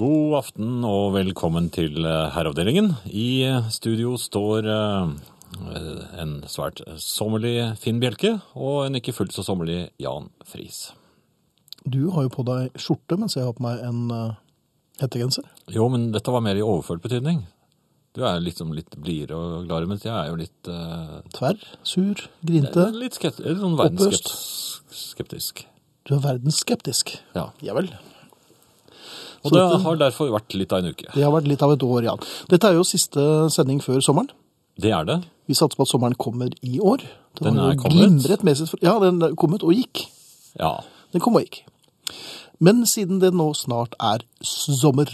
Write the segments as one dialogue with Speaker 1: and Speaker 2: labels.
Speaker 1: God aften og velkommen til eh, Herreavdelingen. I eh, studio står eh, en svært sommerlig Finn Bjelke og en ikke fullt så sommerlig Jan Friis.
Speaker 2: Du har jo på deg skjorte, mens jeg har på meg en eh, hettegenser.
Speaker 1: Jo, men dette var mer i overført betydning. Du er liksom litt blidere og gladere, mens jeg er jo litt eh,
Speaker 2: Tverr, sur, grinte.
Speaker 1: Litt skept, eller sånn
Speaker 2: Oppøst.
Speaker 1: verdensskeptisk.
Speaker 2: Du er verdensskeptisk.
Speaker 1: Ja.
Speaker 2: Ja vel.
Speaker 1: Og
Speaker 2: Så
Speaker 1: det
Speaker 2: dette-
Speaker 1: har derfor vært litt av en uke.
Speaker 2: Det har vært litt av et år, Jan. Dette er jo siste sending før sommeren.
Speaker 1: Det er det.
Speaker 2: Vi satser på at sommeren kommer i år.
Speaker 1: Den
Speaker 2: har
Speaker 1: er
Speaker 2: jo
Speaker 1: kommet.
Speaker 2: glimret Med sitt, ja, den er kommet og gikk.
Speaker 1: Ja.
Speaker 2: Den kom og gikk. Men siden det nå snart er sommer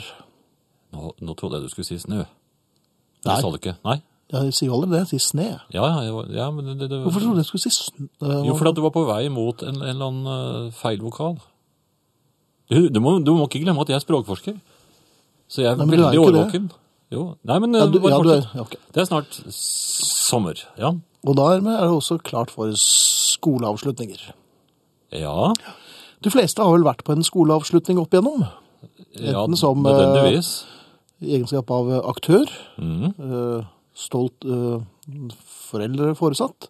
Speaker 1: Nå, nå trodde jeg du skulle si snø. Men
Speaker 2: Nei.
Speaker 1: Det sa du ikke. Nei.
Speaker 2: Jeg sier jo aldri det, jeg sier sne.
Speaker 1: Ja, ja, jeg var- ja men det, det, det,
Speaker 2: Hvorfor trodde jeg jeg skulle si eh, snø?
Speaker 1: Jo, fordi at du var på vei mot en, en eller annen eh, feil vokal. Du, du, må, du må ikke glemme at jeg er språkforsker. Så jeg er
Speaker 2: Nei, men du er
Speaker 1: veldig
Speaker 2: ikke det.
Speaker 1: årvåken. Jo. Nei, men eh,
Speaker 2: Ja, du-
Speaker 1: bare
Speaker 2: ja, du er-
Speaker 1: fortsett.
Speaker 2: ja, ok.
Speaker 1: Det er snart s- sommer. Ja.
Speaker 2: Og dermed er det også klart for skoleavslutninger.
Speaker 1: Ja,
Speaker 2: De fleste har vel vært på en skoleavslutning opp igjennom,
Speaker 1: ja
Speaker 2: Enten som, eh,
Speaker 1: nødvendigvis.
Speaker 2: i egenskap av eh, aktør,
Speaker 1: Mhm.
Speaker 2: eh, stolt eh, foreldre foresatt,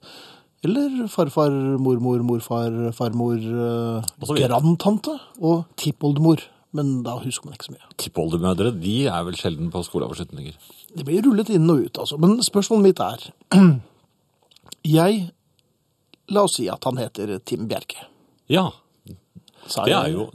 Speaker 2: eller farfar, mormor, morfar, farmor, eh,
Speaker 1: Og så videre.
Speaker 2: grandtante og tippoldemor. Men da husker man ikke så mye.
Speaker 1: Tippoldemødre de er vel sjelden på skoleavslutninger.
Speaker 2: Det blir rullet inn og ut, altså. Men spørsmålet mitt er Jeg La oss si at han heter Tim Bjerke.
Speaker 1: Ja,
Speaker 2: Sa
Speaker 1: det er
Speaker 2: jeg-
Speaker 1: jo,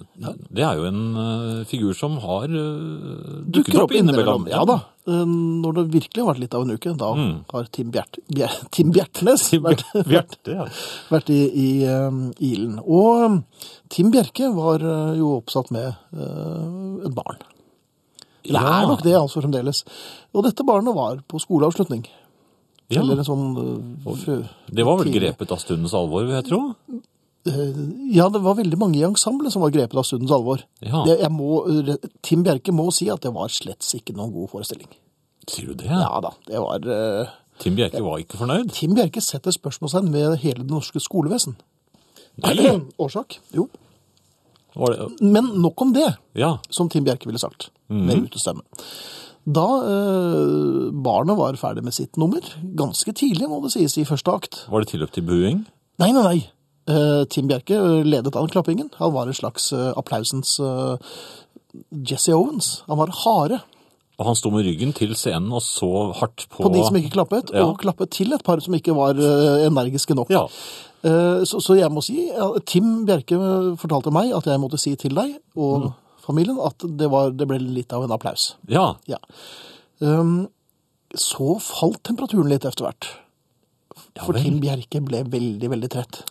Speaker 1: det er jo en eh, figur som har eh,
Speaker 2: dukker opp innimellom. Ja da. Eh, Når det virkelig har vært litt av en uke, da har Tim, Bjert, Bjer, Tim Bjertnes vært, vært,
Speaker 1: Bjarte, Mm. ja.
Speaker 2: vært i, i eh, ilen. Og eh, Tim Bjerke var eh, jo oppsatt med eh, et barn. Det
Speaker 1: Ja.
Speaker 2: er nok det, altså, fremdeles. Og dette barnet var på skoleavslutning.
Speaker 1: Ja.
Speaker 2: Eller en sånn eh, frø...
Speaker 1: Det var vel
Speaker 2: tidlig.
Speaker 1: grepet av stundens alvor, vil jeg tro.
Speaker 2: Eh, Ja, det var veldig mange i ensemblet som var grepet av stundens alvor.
Speaker 1: Ja.
Speaker 2: Det, jeg må, eh, Tim Bjerke må si at det var slett ikke noen god forestilling.
Speaker 1: Sier du det?
Speaker 2: Ja da, det var eh,
Speaker 1: Tim Bjerke var ikke fornøyd.
Speaker 2: Tim Bjerke setter spørsmålstegn ved hele det norske skolevesen. Årsak? Jo.
Speaker 1: Var det,
Speaker 2: Men nok om det,
Speaker 1: ja.
Speaker 2: som Tim Bjerke ville sagt, med utestemme. Da eh, barnet var ferdig med sitt nummer, ganske tidlig må det sies, i første akt
Speaker 1: Var det tilløp til buing?
Speaker 2: Nei, nei, nei. Eh, Tim Bjerke ledet an klappingen. Han var en slags eh, applausens eh, Jesse Owens. Han var hare
Speaker 1: Og han sto med ryggen til scenen og så hardt på
Speaker 2: på de som ikke klappet,
Speaker 1: Ja.
Speaker 2: og klappet til et par som ikke var eh, energiske nok.
Speaker 1: Ja.
Speaker 2: Eh, Så, så jeg må si, ja, Tim Bjerke fortalte meg at jeg måtte si til deg og
Speaker 1: Mm.
Speaker 2: familien at det, var, det ble litt av en applaus.
Speaker 1: ja.
Speaker 2: Ja. Um, så falt temperaturen litt etter hvert.
Speaker 1: Ja
Speaker 2: For
Speaker 1: vel.
Speaker 2: Tim Bjerke ble veldig, veldig trett.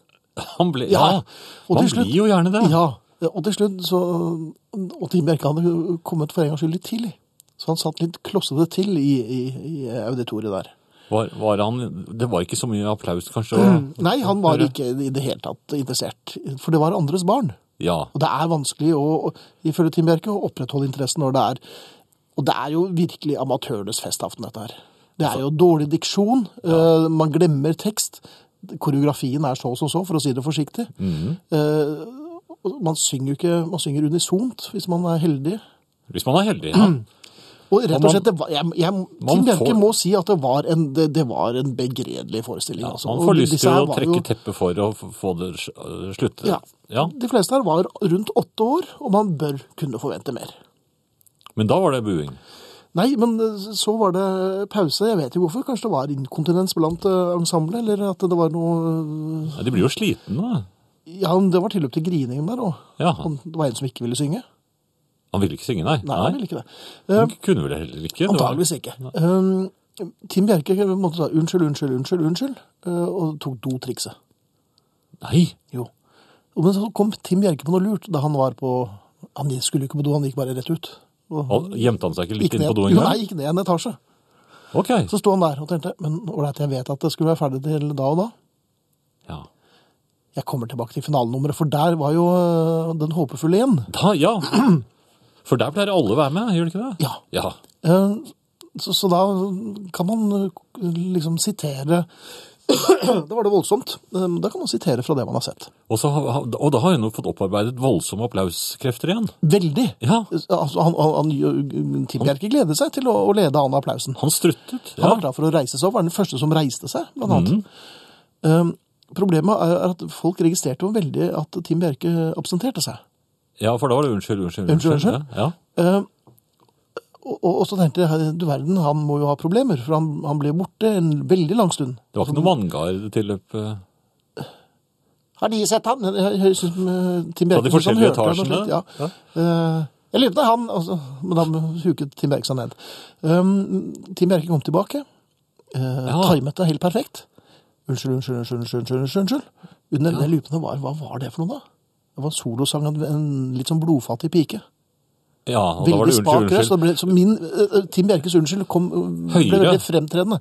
Speaker 1: Han ble Ja.
Speaker 2: Og
Speaker 1: Man
Speaker 2: til slutt-
Speaker 1: blir jo gjerne det.
Speaker 2: Ja, og til slutt så Og Tim Bjerke hadde kommet for en gangs skyld litt tidlig. Så han satt litt klossete til i, i, i auditoriet der.
Speaker 1: Var, var han Det var ikke så mye applaus, kanskje? og-
Speaker 2: Nei, han var ikke i det hele tatt interessert. For det var andres barn.
Speaker 1: Ja.
Speaker 2: Og det er vanskelig å, å- ifølge Tim Bjerke, å opprettholde interessen når det er Og det er jo virkelig amatørenes festaften, dette her. Det er jo dårlig diksjon, eh, man glemmer tekst. Koreografien er så som så, for å si det forsiktig.
Speaker 1: Mhm.
Speaker 2: Eh, og man synger jo ikke Man synger unisont, hvis man er heldig.
Speaker 1: Hvis man er heldig. Ja.
Speaker 2: Mm. Og rett
Speaker 1: Og
Speaker 2: og,
Speaker 1: man-
Speaker 2: slett, det var, jeg, jeg, Tim Bjerke
Speaker 1: får-
Speaker 2: må si at det var en, det, det var en begredelig forestilling.
Speaker 1: Ja,
Speaker 2: altså.
Speaker 1: man
Speaker 2: Og
Speaker 1: får lyst
Speaker 2: disse
Speaker 1: til
Speaker 2: her
Speaker 1: å
Speaker 2: var
Speaker 1: trekke
Speaker 2: jo-
Speaker 1: teppet for å f- få det s- øh, slutte.
Speaker 2: ja. De fleste her var rundt åtte år, og man bør kunne forvente mer.
Speaker 1: Men da var det buing.
Speaker 2: Nei, men eh, så var det pause. Jeg vet ikke hvorfor. Kanskje det var inkontinens blant eh, ensemblet, eller at det var noe eh,
Speaker 1: Ja, de blir jo slitne.
Speaker 2: Ja, men det var tilløp til griningen der òg.
Speaker 1: Ja.
Speaker 2: Det var en som ikke ville synge.
Speaker 1: Han ville ikke synge, nei.
Speaker 2: Nei, han ville ikke det. Eh,
Speaker 1: Han kunne vel heller ikke. det var-
Speaker 2: Antageligvis ikke. Um, Tim Bjerke måtte ta unnskyld, unnskyld, unnskyld, unnskyld, eh, og tok dotrikset.
Speaker 1: Nei.
Speaker 2: Jo. Og Men så kom Tim Bjerke på noe lurt da han var på Han skulle jo ikke på do, han gikk bare rett ut. Og
Speaker 1: Og Gjemte han seg ikke
Speaker 2: gikk
Speaker 1: litt inn på do
Speaker 2: Jo, Nei,
Speaker 1: engang?
Speaker 2: gikk ned en etasje.
Speaker 1: Ok.
Speaker 2: Så sto han der og tenkte men ålreit, jeg vet at det skulle være ferdig til da og da.
Speaker 1: Ja.
Speaker 2: Jeg kommer tilbake til finalenummeret, for der var jo øh, den håpefulle igjen.
Speaker 1: Da, ja. For der pleier alle å være med, gjør de ikke det?
Speaker 2: Ja.
Speaker 1: Ja.
Speaker 2: Eh, Så, så da kan man øh, liksom eh, sitere Da var det voldsomt. Eh, Da kan man sitere fra det man har sett.
Speaker 1: Og, så, har- og da har hun jo fått opparbeidet voldsomme applauskrefter igjen.
Speaker 2: Veldig!
Speaker 1: Ja.
Speaker 2: Altså, han, han, han, Tim Bjerke gleder seg til å, å lede an applausen.
Speaker 1: Han struttet.
Speaker 2: Han
Speaker 1: Ja.
Speaker 2: var klar for å reise seg opp, var den første som reiste seg, blant annet. Um, problemet er at folk registrerte jo veldig at Tim Bjerke absenterte seg.
Speaker 1: ja, for da var det unnskyld, unnskyld,
Speaker 2: Unnskyld,
Speaker 1: Ja.
Speaker 2: Eh, Og, og, og så tenkte jeg, du verden, han må jo ha problemer, for han, han ble borte en veldig lang stund.
Speaker 1: Det var ikke noe vanngardtilløp eh,
Speaker 2: Har de sett han? Jeg, jeg synes, eh, Tim Bjerke
Speaker 1: de
Speaker 2: synes han
Speaker 1: forskjellige
Speaker 2: hørte han og
Speaker 1: etasjene?
Speaker 2: slikt, Ja. Eh, jeg lurer på det, han, altså, men da huket Tim Bjerke seg ned. Um, Tim Bjerke kom tilbake, uh,
Speaker 1: Ja.
Speaker 2: timet det helt perfekt. Unnskyld, unnskyld, unnskyld, unnskyld, unnskyld, unnskyld, unnskyld. Under den lupene var, hva var det for noe da? Det var en solosang av en litt sånn blodfattig pike.
Speaker 1: Ja, og da var
Speaker 2: Veldig
Speaker 1: det
Speaker 2: spak
Speaker 1: unnskyld,
Speaker 2: røst. og
Speaker 1: unnskyld.
Speaker 2: det ble- Så min, eh, eh, Tim Bjerkes unnskyld kom, eh, ble
Speaker 1: Høyere.
Speaker 2: veldig fremtredende.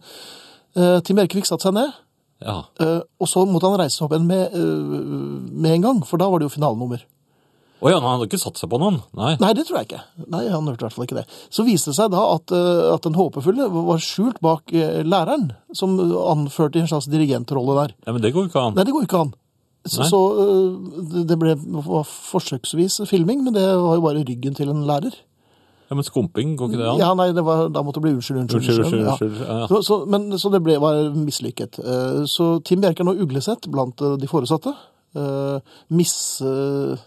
Speaker 2: Eh, Tim Bjerke fikk satt seg ned,
Speaker 1: Ja.
Speaker 2: Eh, og så måtte han reise seg opp igjen med, eh, med en gang, for da var det jo finalenummer.
Speaker 1: Å ja, han hadde ikke satt seg på noen. Nei.
Speaker 2: Nei, det tror jeg ikke. Nei, han hørte i hvert fall ikke det. Så viste det seg da at, eh, at den håpefulle var skjult bak eh, læreren, som anførte i en slags dirigentrolle der.
Speaker 1: Nei, men det går jo ikke an.
Speaker 2: Nei, det går jo ikke an. Så,
Speaker 1: Nei.
Speaker 2: så eh, det- det ble var forsøksvis filming, men det var jo bare ryggen til en lærer.
Speaker 1: Ja, men skumping, går ikke det an?
Speaker 2: Ja, nei, det var, da måtte det bli unnskyld, unnskyld,
Speaker 1: Unnskyld,
Speaker 2: unnskyld.
Speaker 1: unnskyld,
Speaker 2: ja.
Speaker 1: unnskyld. Ja.
Speaker 2: Så, så, men, så det ble, var mislykket. Eh, Så Tim Bjerke er nå uglesett blant eh, de foresatte. eh, Mistrodd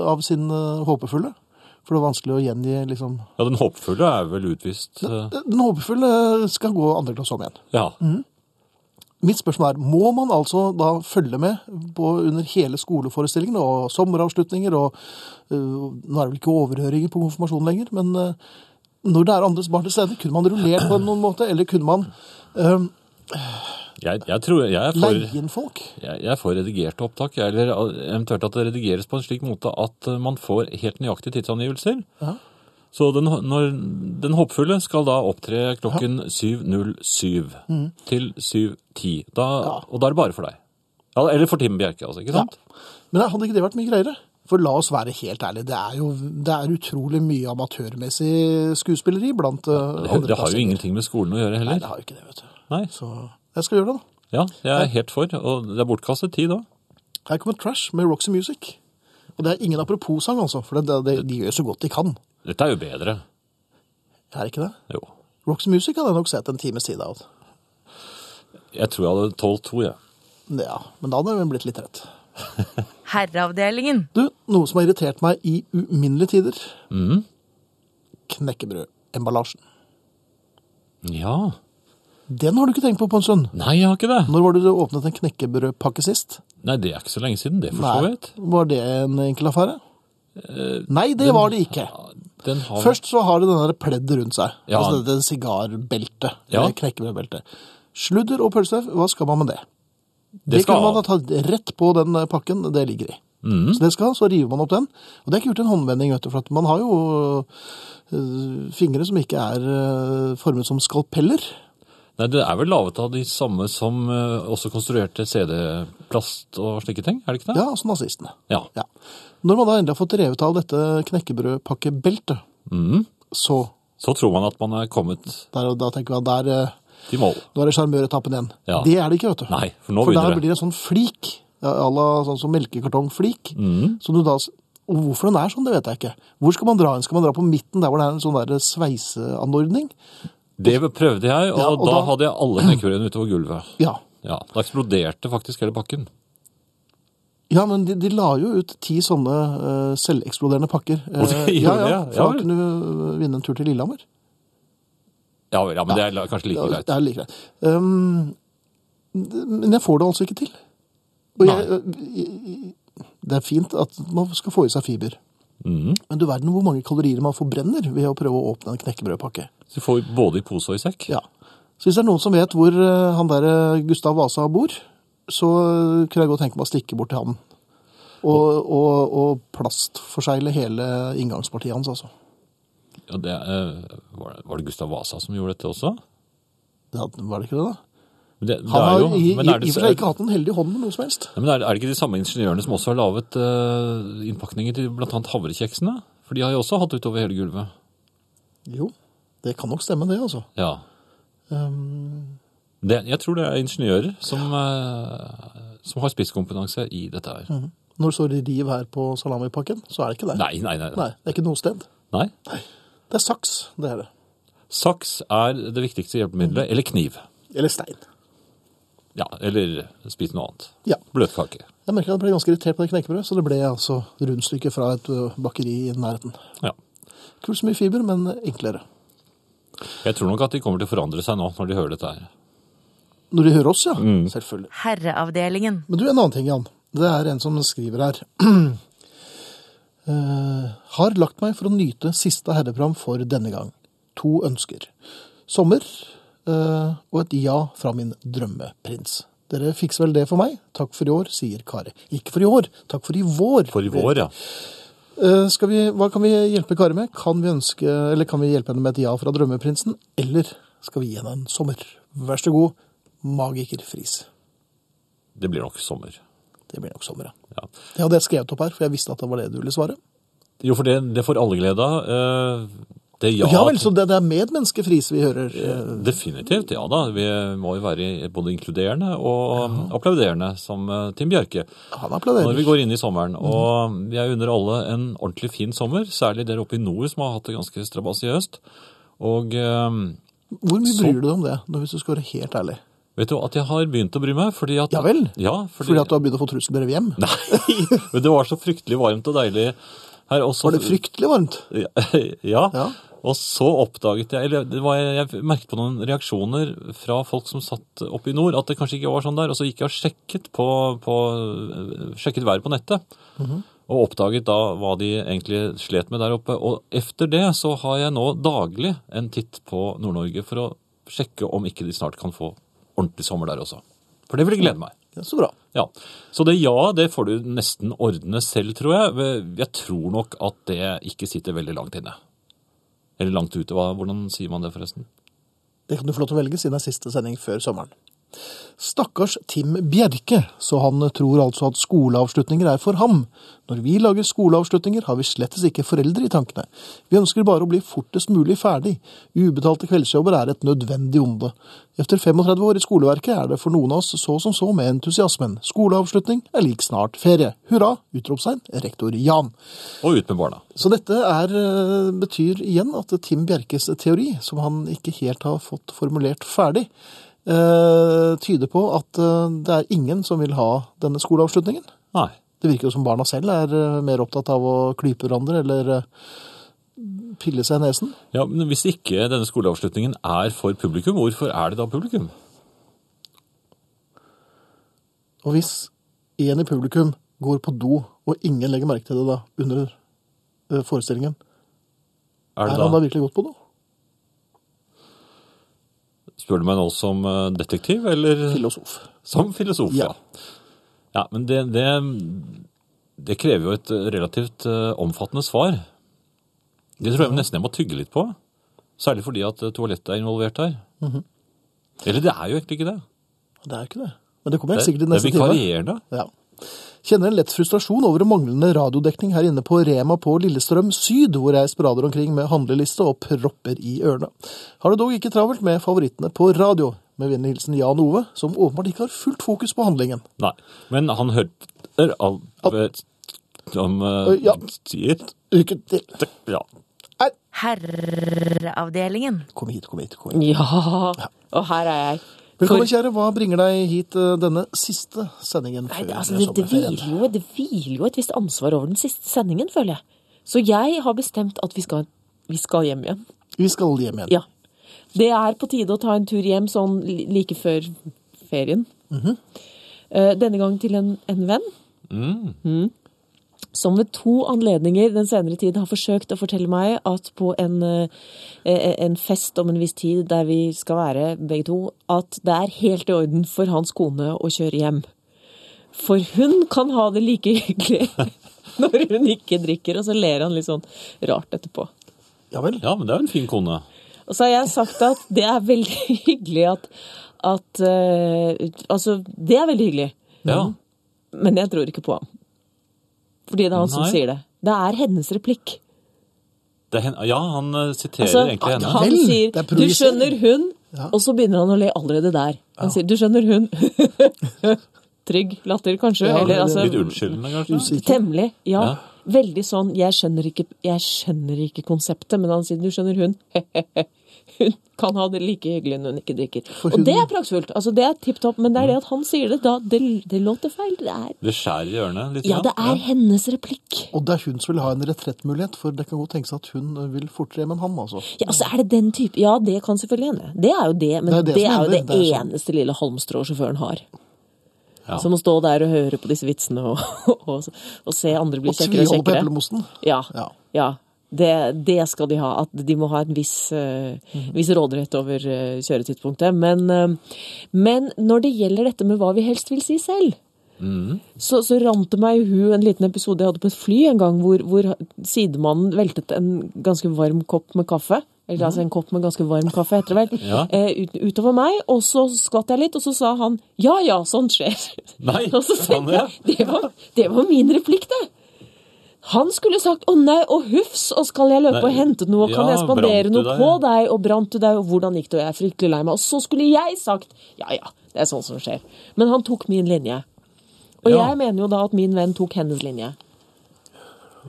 Speaker 2: av sin eh, håpefulle. For det var vanskelig å gjengi liksom
Speaker 1: Ja, den håpefulle er vel utvist. eh,
Speaker 2: Den håpefulle skal gå andre klasse om igjen.
Speaker 1: Ja.
Speaker 2: Mitt spørsmål er, må man altså da følge med på, under hele skoleforestillingen og sommeravslutninger og eh, Nå er det vel ikke overhøringer på konfirmasjon lenger, men eh, når det er andres barn til stede, kunne man rullert på noen måte, eller kunne man eh,
Speaker 1: Jeg, jeg tror jeg er for
Speaker 2: leie inn folk?
Speaker 1: Jeg, jeg får redigerte opptak, jeg, eller eventuelt at det redigeres på en slik måte at eh, man får helt nøyaktige tidsangivelser.
Speaker 2: Ja.
Speaker 1: Så den, ho- når, den hoppfulle skal da opptre klokken 7.07 til 7.10. Da, Og da er det bare for deg. Ja, eller for Tim Bjerke, altså. Ikke sant?
Speaker 2: Men hadde ikke det vært mye greiere? For la oss være helt ærlige, det er jo det er utrolig mye amatørmessig skuespilleri blant eh,
Speaker 1: Det,
Speaker 2: andre
Speaker 1: det har jo ingenting med skolen å gjøre
Speaker 2: Nei,
Speaker 1: heller.
Speaker 2: det har jo ikke det, vet du.
Speaker 1: Nei.
Speaker 2: Så jeg skal gjøre det, da.
Speaker 1: Ja, jeg er helt for. Og det er bortkastet tid da.
Speaker 2: Her kommer Trash med Roxy Music. Og det er ingen apropos-sang, altså, for det, det, de gjør så godt de kan.
Speaker 1: Dette er jo bedre.
Speaker 2: Er det ikke det?
Speaker 1: Jo.
Speaker 2: Roxy Music hadde jeg nok sett en times tid av.
Speaker 1: Jeg tror jeg hadde 12-2, jeg.
Speaker 2: Ja, men da hadde jeg vel blitt litt rett.
Speaker 3: Herreavdelingen.
Speaker 2: Du, noe som har irritert meg i uminnelige tider.
Speaker 1: Mm.
Speaker 2: Knekkebrødemballasjen.
Speaker 1: Ja.
Speaker 2: Den har du ikke tenkt på på en stund.
Speaker 1: Nei, jeg har ikke det.
Speaker 2: Når var det du åpnet en knekkebrødpakke sist?
Speaker 1: Nei, det er ikke så Eh, lenge siden. Det forstår jeg.
Speaker 2: Var det en enkel affære? Nei, det var det ikke.
Speaker 1: Den har
Speaker 2: Først så har det den der pleddet rundt seg.
Speaker 1: Ja.
Speaker 2: Altså dette sigarbeltet.
Speaker 1: Ja.
Speaker 2: eller Knekkebrødbeltet. Sludder og pølsev, hva skal man med det? Det,
Speaker 1: skal- Mhm.
Speaker 2: kunne man ha tatt rett på den eh, pakken det ligger i. Så det skal, så river man opp den. Og det er ikke gjort en håndvending, vet du, for at man har jo eh, fingre som ikke er eh, formet som skalpeller.
Speaker 1: Nei, det er vel laget av de samme som eh, også konstruerte CD-plast og slike ting, er det ikke det?
Speaker 2: Ja, altså nazistene.
Speaker 1: Ja.
Speaker 2: Ja. Når man da endelig har fått revet av dette knekkebrødpakkebeltet,
Speaker 1: Mhm.
Speaker 2: så
Speaker 1: Så tror man at man er kommet
Speaker 2: der, da tenker jeg at der, eh,
Speaker 1: til mål.
Speaker 2: nå er det sjarmøretappen igjen.
Speaker 1: Ja.
Speaker 2: Det er det ikke, vet du.
Speaker 1: Nei, for nå
Speaker 2: for der
Speaker 1: begynner det.
Speaker 2: blir det en sånn flik, ja, à la sånn som melkekartongflik.
Speaker 1: Mhm.
Speaker 2: som du da, s- og hvorfor den er sånn, det vet jeg ikke. Hvor skal man dra hen? Skal man dra på midten, der hvor det er en sånn der sveiseanordning?
Speaker 1: Det prøvde jeg, og,
Speaker 2: Ja, og
Speaker 1: da,
Speaker 2: da-
Speaker 1: hadde jeg alle knekkebrødene utover gulvet.
Speaker 2: Ja.
Speaker 1: Ja, Da eksploderte faktisk hele pakken.
Speaker 2: Ja, men de, de la jo ut ti sånne eh, selveksploderende pakker.
Speaker 1: Og det
Speaker 2: Eh,
Speaker 1: gjorde
Speaker 2: ja, ja,
Speaker 1: det, ja
Speaker 2: for da
Speaker 1: vel.
Speaker 2: kunne du eh, vinne en tur til Lillehammer.
Speaker 1: Ja vel, ja, men det er la- kanskje like
Speaker 2: Ja,
Speaker 1: greit.
Speaker 2: det er like greit. Um, d- men jeg får det altså ikke til. Og jeg, øh, det er fint at man skal få i seg fiber.
Speaker 1: Mhm.
Speaker 2: Men du verden hvor mange kalorier man forbrenner ved å prøve å åpne en knekkebrødpakke.
Speaker 1: Så du får både i pose og i sekk.
Speaker 2: Ja. Så hvis det er noen som vet hvor eh, han der eh, Gustav Vasa bor, så eh, kunne jeg godt tenke meg å stikke bort til han. Og, og, og plastforsegle hele inngangspartiet hans, altså.
Speaker 1: Ja, det, eh, var, det, var det Gustav Vasa som gjorde dette også?
Speaker 2: Det hadde- Var det ikke det, da?
Speaker 1: Men Det, det
Speaker 2: Han
Speaker 1: er
Speaker 2: har
Speaker 1: jo,
Speaker 2: i, i,
Speaker 1: men er
Speaker 2: i
Speaker 1: det,
Speaker 2: og for seg ikke hatt en heldig hånd med noe som helst.
Speaker 1: Nei, men er, er det ikke de samme ingeniørene som også har laget eh, innpakninger til blant annet havrekjeksene? For de har jo også hatt utover hele gulvet.
Speaker 2: Jo, det kan nok stemme det, altså.
Speaker 1: Ja.
Speaker 2: Um,
Speaker 1: Det, jeg tror det er ingeniører som, eh, som har spisskompetanse i dette her.
Speaker 2: Når det står riv her på salamipakken, så er det ikke det.
Speaker 1: Nei, nei, nei.
Speaker 2: Nei, det er ikke noe sted.
Speaker 1: Nei.
Speaker 2: Det er saks, det er det.
Speaker 1: Saks er det viktigste hjelpemiddelet, eller kniv.
Speaker 2: Eller stein.
Speaker 1: Ja, eller spis noe annet.
Speaker 2: Ja.
Speaker 1: Bløtkake.
Speaker 2: Jeg merker at jeg ble ganske irritert på det knekkebrødet, så det ble altså rundstykke fra et ø, bakeri i nærheten.
Speaker 1: Ja.
Speaker 2: Kult så mye fiber, men enklere.
Speaker 1: Jeg tror nok at de kommer til å forandre seg nå når de hører dette her.
Speaker 2: Når de hører oss, ja. Selvfølgelig.
Speaker 3: Herreavdelingen.
Speaker 2: Men du, en annen ting, Jan. Det er en som skriver her. Eh, har lagt meg for å nyte siste herreprogram for denne gang. To ønsker. Sommer eh, og et ja fra min drømmeprins. Dere fikser vel det for meg? Takk for i år, sier Kari. Ikke for i år, takk for i vår.
Speaker 1: For i vår, ja.
Speaker 2: Eh, skal vi, hva kan vi hjelpe Kari med? Kan vi, ønske, eller kan vi hjelpe henne med et ja fra drømmeprinsen? Eller skal vi gi henne en sommer? Vær så god, magiker Friis.
Speaker 1: Det blir nok sommer.
Speaker 2: Det blir nok sommer, ja.
Speaker 1: Ja.
Speaker 2: Det hadde jeg skrevet opp her, for jeg visste at det var det du ville svare.
Speaker 1: Jo, for det, det får alle glede av. Eh, Det ja,
Speaker 2: Ja, vel, så det, det er medmenneske Friis vi hører. eh,
Speaker 1: Definitivt, ja da. Vi må jo være både inkluderende og applauderende, som eh, Tim Bjerke.
Speaker 2: Han
Speaker 1: Når vi
Speaker 2: applauderer.
Speaker 1: går inn i sommeren,
Speaker 2: Mhm.
Speaker 1: og jeg unner alle en ordentlig fin sommer, særlig dere oppe i nord som har hatt det ganske strabasiøst. Og eh,
Speaker 2: Hvor mye
Speaker 1: Så-
Speaker 2: bryr du deg om det, nå, hvis du skal være helt ærlig?
Speaker 1: vet du at jeg har begynt å bry meg? Fordi at,
Speaker 2: Ja vel?
Speaker 1: Ja, fordi,
Speaker 2: Fordi at du har begynt å få trusselbrev hjem?
Speaker 1: Nei, men det var så fryktelig varmt og deilig her også.
Speaker 2: Var det fryktelig varmt?
Speaker 1: Ja.
Speaker 2: Ja.
Speaker 1: Og så oppdaget jeg, eller det var, jeg merket på noen reaksjoner fra folk som satt oppe i nord, at det kanskje ikke var sånn der. Og så gikk jeg og sjekket, på, på, sjekket været på nettet. Og oppdaget da hva de egentlig slet med der oppe. Og efter det så har jeg nå daglig en titt på Nord-Norge for å sjekke om ikke de snart kan få ordentlig sommer der også. For det vil glede meg.
Speaker 2: Ja, så bra.
Speaker 1: Ja, Så det ja, det får du nesten ordne selv, tror jeg. Jeg tror nok at det ikke sitter veldig langt inne. Eller langt ute. Hva, hvordan sier man det, forresten?
Speaker 2: Det kan du få lov til å velge siden det er siste sending før sommeren. Stakkars Tim Bjerke, så han tror altså at skoleavslutninger er for ham. Når vi lager skoleavslutninger har vi slettes ikke foreldre i tankene. Vi ønsker bare å bli fortest mulig ferdig. Ubetalte kveldsjobber er et nødvendig onde. Efter 35 år i skoleverket er det for noen av oss så som så med entusiasmen. Skoleavslutning er lik snart ferie. Hurra! Utropstegn. Rektor Jan.
Speaker 1: Og ut med barna.
Speaker 2: Så dette er, eh, betyr igjen at Tim Bjerkes teori, som han ikke helt har fått formulert ferdig, eh, tyder på at eh, det er ingen som vil ha denne skoleavslutningen.
Speaker 1: Nei.
Speaker 2: Det virker jo som barna selv er eh, mer opptatt av å klype hverandre eller eh, pille seg i nesen.
Speaker 1: Ja, men Hvis ikke denne skoleavslutningen er for publikum, hvorfor er det da publikum?
Speaker 2: Og hvis en i publikum går på do, og ingen legger merke til det da under eh, forestillingen,
Speaker 1: Er
Speaker 2: er
Speaker 1: det
Speaker 2: han
Speaker 1: da,
Speaker 2: da virkelig gått på do?
Speaker 1: Spør du meg nå som eh, detektiv, eller
Speaker 2: Filosof.
Speaker 1: som filosof? Ja.
Speaker 2: Ja.
Speaker 1: ja men det, det, det krever jo et relativt eh, omfattende svar. Det tror jeg nesten jeg må tygge litt på. Særlig fordi at eh, toalettet er involvert her. Eller det er jo egentlig ikke det.
Speaker 2: Det er jo ikke det. Men det kommer
Speaker 1: Det,
Speaker 2: helt sikkert i
Speaker 1: det er
Speaker 2: neste time.
Speaker 1: vikarierende.
Speaker 2: Ja. Kjenner en lett frustrasjon over manglende radiodekning her inne på Rema på Lillestrøm Syd, hvor jeg sprader omkring med handleliste og propper i ørene. Har det dog ikke travelt med favorittene på radio. Med vennlig hilsen Jan Ove, som åpenbart ikke har fullt fokus på handlingen.
Speaker 1: Nei, men han hørte alt som eh,
Speaker 2: Ja.
Speaker 1: sier
Speaker 2: Lykke til.
Speaker 1: Ja.
Speaker 2: Nei,
Speaker 3: Herreavdelingen.
Speaker 2: kom hit, kom hit. kom hit.
Speaker 4: Ja. Og her er jeg.
Speaker 2: Velkommen,
Speaker 4: For-
Speaker 2: kjære. Hva bringer deg hit eh, denne siste sendingen
Speaker 4: Nei,
Speaker 2: før
Speaker 4: det, altså, det, det,
Speaker 2: sommerferien?
Speaker 4: hviler jo, det hviler jo et visst ansvar over den siste sendingen, føler jeg. Så jeg har bestemt at vi skal, vi skal hjem igjen.
Speaker 2: Vi skal hjem igjen.
Speaker 4: Ja. Det er på tide å ta en tur hjem sånn li- like før ferien. Eh, Denne gang til en, en venn. Mhm. Som ved to anledninger den senere tid har forsøkt å fortelle meg at på en, eh, eh, en fest om en viss tid der vi skal være begge to, at det er helt i orden for hans kone å kjøre hjem. For hun kan ha det like hyggelig når hun ikke drikker, og så ler han litt sånn rart etterpå.
Speaker 2: Ja vel.
Speaker 1: ja, men det er jo en fin kone.
Speaker 4: Og så har jeg sagt at det er veldig hyggelig at, at eh, Altså, det er veldig hyggelig,
Speaker 1: Ja.
Speaker 4: men jeg tror ikke på ham. Fordi det er han som
Speaker 1: Nei.
Speaker 4: sier det. Det er hennes replikk.
Speaker 1: Det er hen, ja, han eh, siterer
Speaker 4: Altså,
Speaker 1: egentlig henne.
Speaker 4: han
Speaker 2: Vel,
Speaker 4: sier
Speaker 2: det er
Speaker 4: 'du skjønner hun', Og så begynner han å le allerede der. Han sier 'du skjønner, hun'. Trygg latter, kanskje.
Speaker 2: Ja,
Speaker 4: eller,
Speaker 2: eller-
Speaker 4: altså,
Speaker 1: Litt unnskyldende, kanskje?
Speaker 2: Usikker.
Speaker 4: Temmelig, ja.
Speaker 1: Ja.
Speaker 4: Veldig sånn jeg skjønner, ikke, 'jeg skjønner ikke konseptet', men han sier 'du skjønner hun'. hun kan ha det like hyggelig når hun ikke drikker.
Speaker 2: hun-
Speaker 4: Og det er praktfullt. altså Det er tipp topp, men det er det at han sier det da, det, det låter feil. Det er,
Speaker 1: Det skjærer i ørene litt?
Speaker 4: ja, det er hennes replikk.
Speaker 2: Og det er hun som vil ha en retrettmulighet, for det kan godt tenkes at hun vil fortere hjem enn ham, altså.
Speaker 4: Ja, altså er det den type Ja, det kan selvfølgelig hende. Det er jo det, men
Speaker 2: Det er
Speaker 4: det
Speaker 2: det
Speaker 4: er,
Speaker 2: som hender.
Speaker 4: jo det,
Speaker 2: Det er sånn.
Speaker 4: eneste lille halmstrået sjåføren har.
Speaker 1: Ja.
Speaker 4: Som å stå der og høre på disse vitsene og, og, og se andre bli
Speaker 2: Og
Speaker 4: kjekkere og
Speaker 2: tviholde på
Speaker 4: kjekkere.
Speaker 2: eplemosten.
Speaker 4: Ja.
Speaker 2: Ja.
Speaker 4: ja. Det, det skal de ha. At de må ha en viss, eh,
Speaker 1: Mhm.
Speaker 4: viss råderett over eh, kjøretidspunktet. Men, eh, men når det gjelder dette med hva vi helst vil si selv,
Speaker 1: Mhm.
Speaker 4: så, så rant det meg i hu en liten episode jeg hadde på et fly en gang, hvor, hvor sidemannen veltet en ganske varm kopp med kaffe. Eller altså en kopp med ganske varm kaffe, heter det vel.
Speaker 1: Mhm. Ja.
Speaker 4: eh, ut, utover meg. Og så skvatt jeg litt, og så sa han ja ja, sånt skjer.
Speaker 1: Nei,
Speaker 4: Og så
Speaker 1: sånn,
Speaker 4: tenkte
Speaker 1: ja.
Speaker 4: jeg, det var, det var min replikk, det. Han skulle sagt 'å nei' og 'hufs', og 'skal jeg løpe
Speaker 1: Nei,
Speaker 4: og hente noe', 'kan
Speaker 1: ja,
Speaker 4: jeg
Speaker 1: brant
Speaker 4: spandere
Speaker 1: du
Speaker 4: noe
Speaker 1: deg?
Speaker 4: på deg', og 'brant du deg', og 'hvordan gikk det', og 'jeg er fryktelig lei meg'. Og så skulle jeg sagt 'ja ja, det er sånn som skjer'. Men han tok min linje. Og
Speaker 1: Ja.
Speaker 4: jeg mener jo da at min venn tok hennes linje.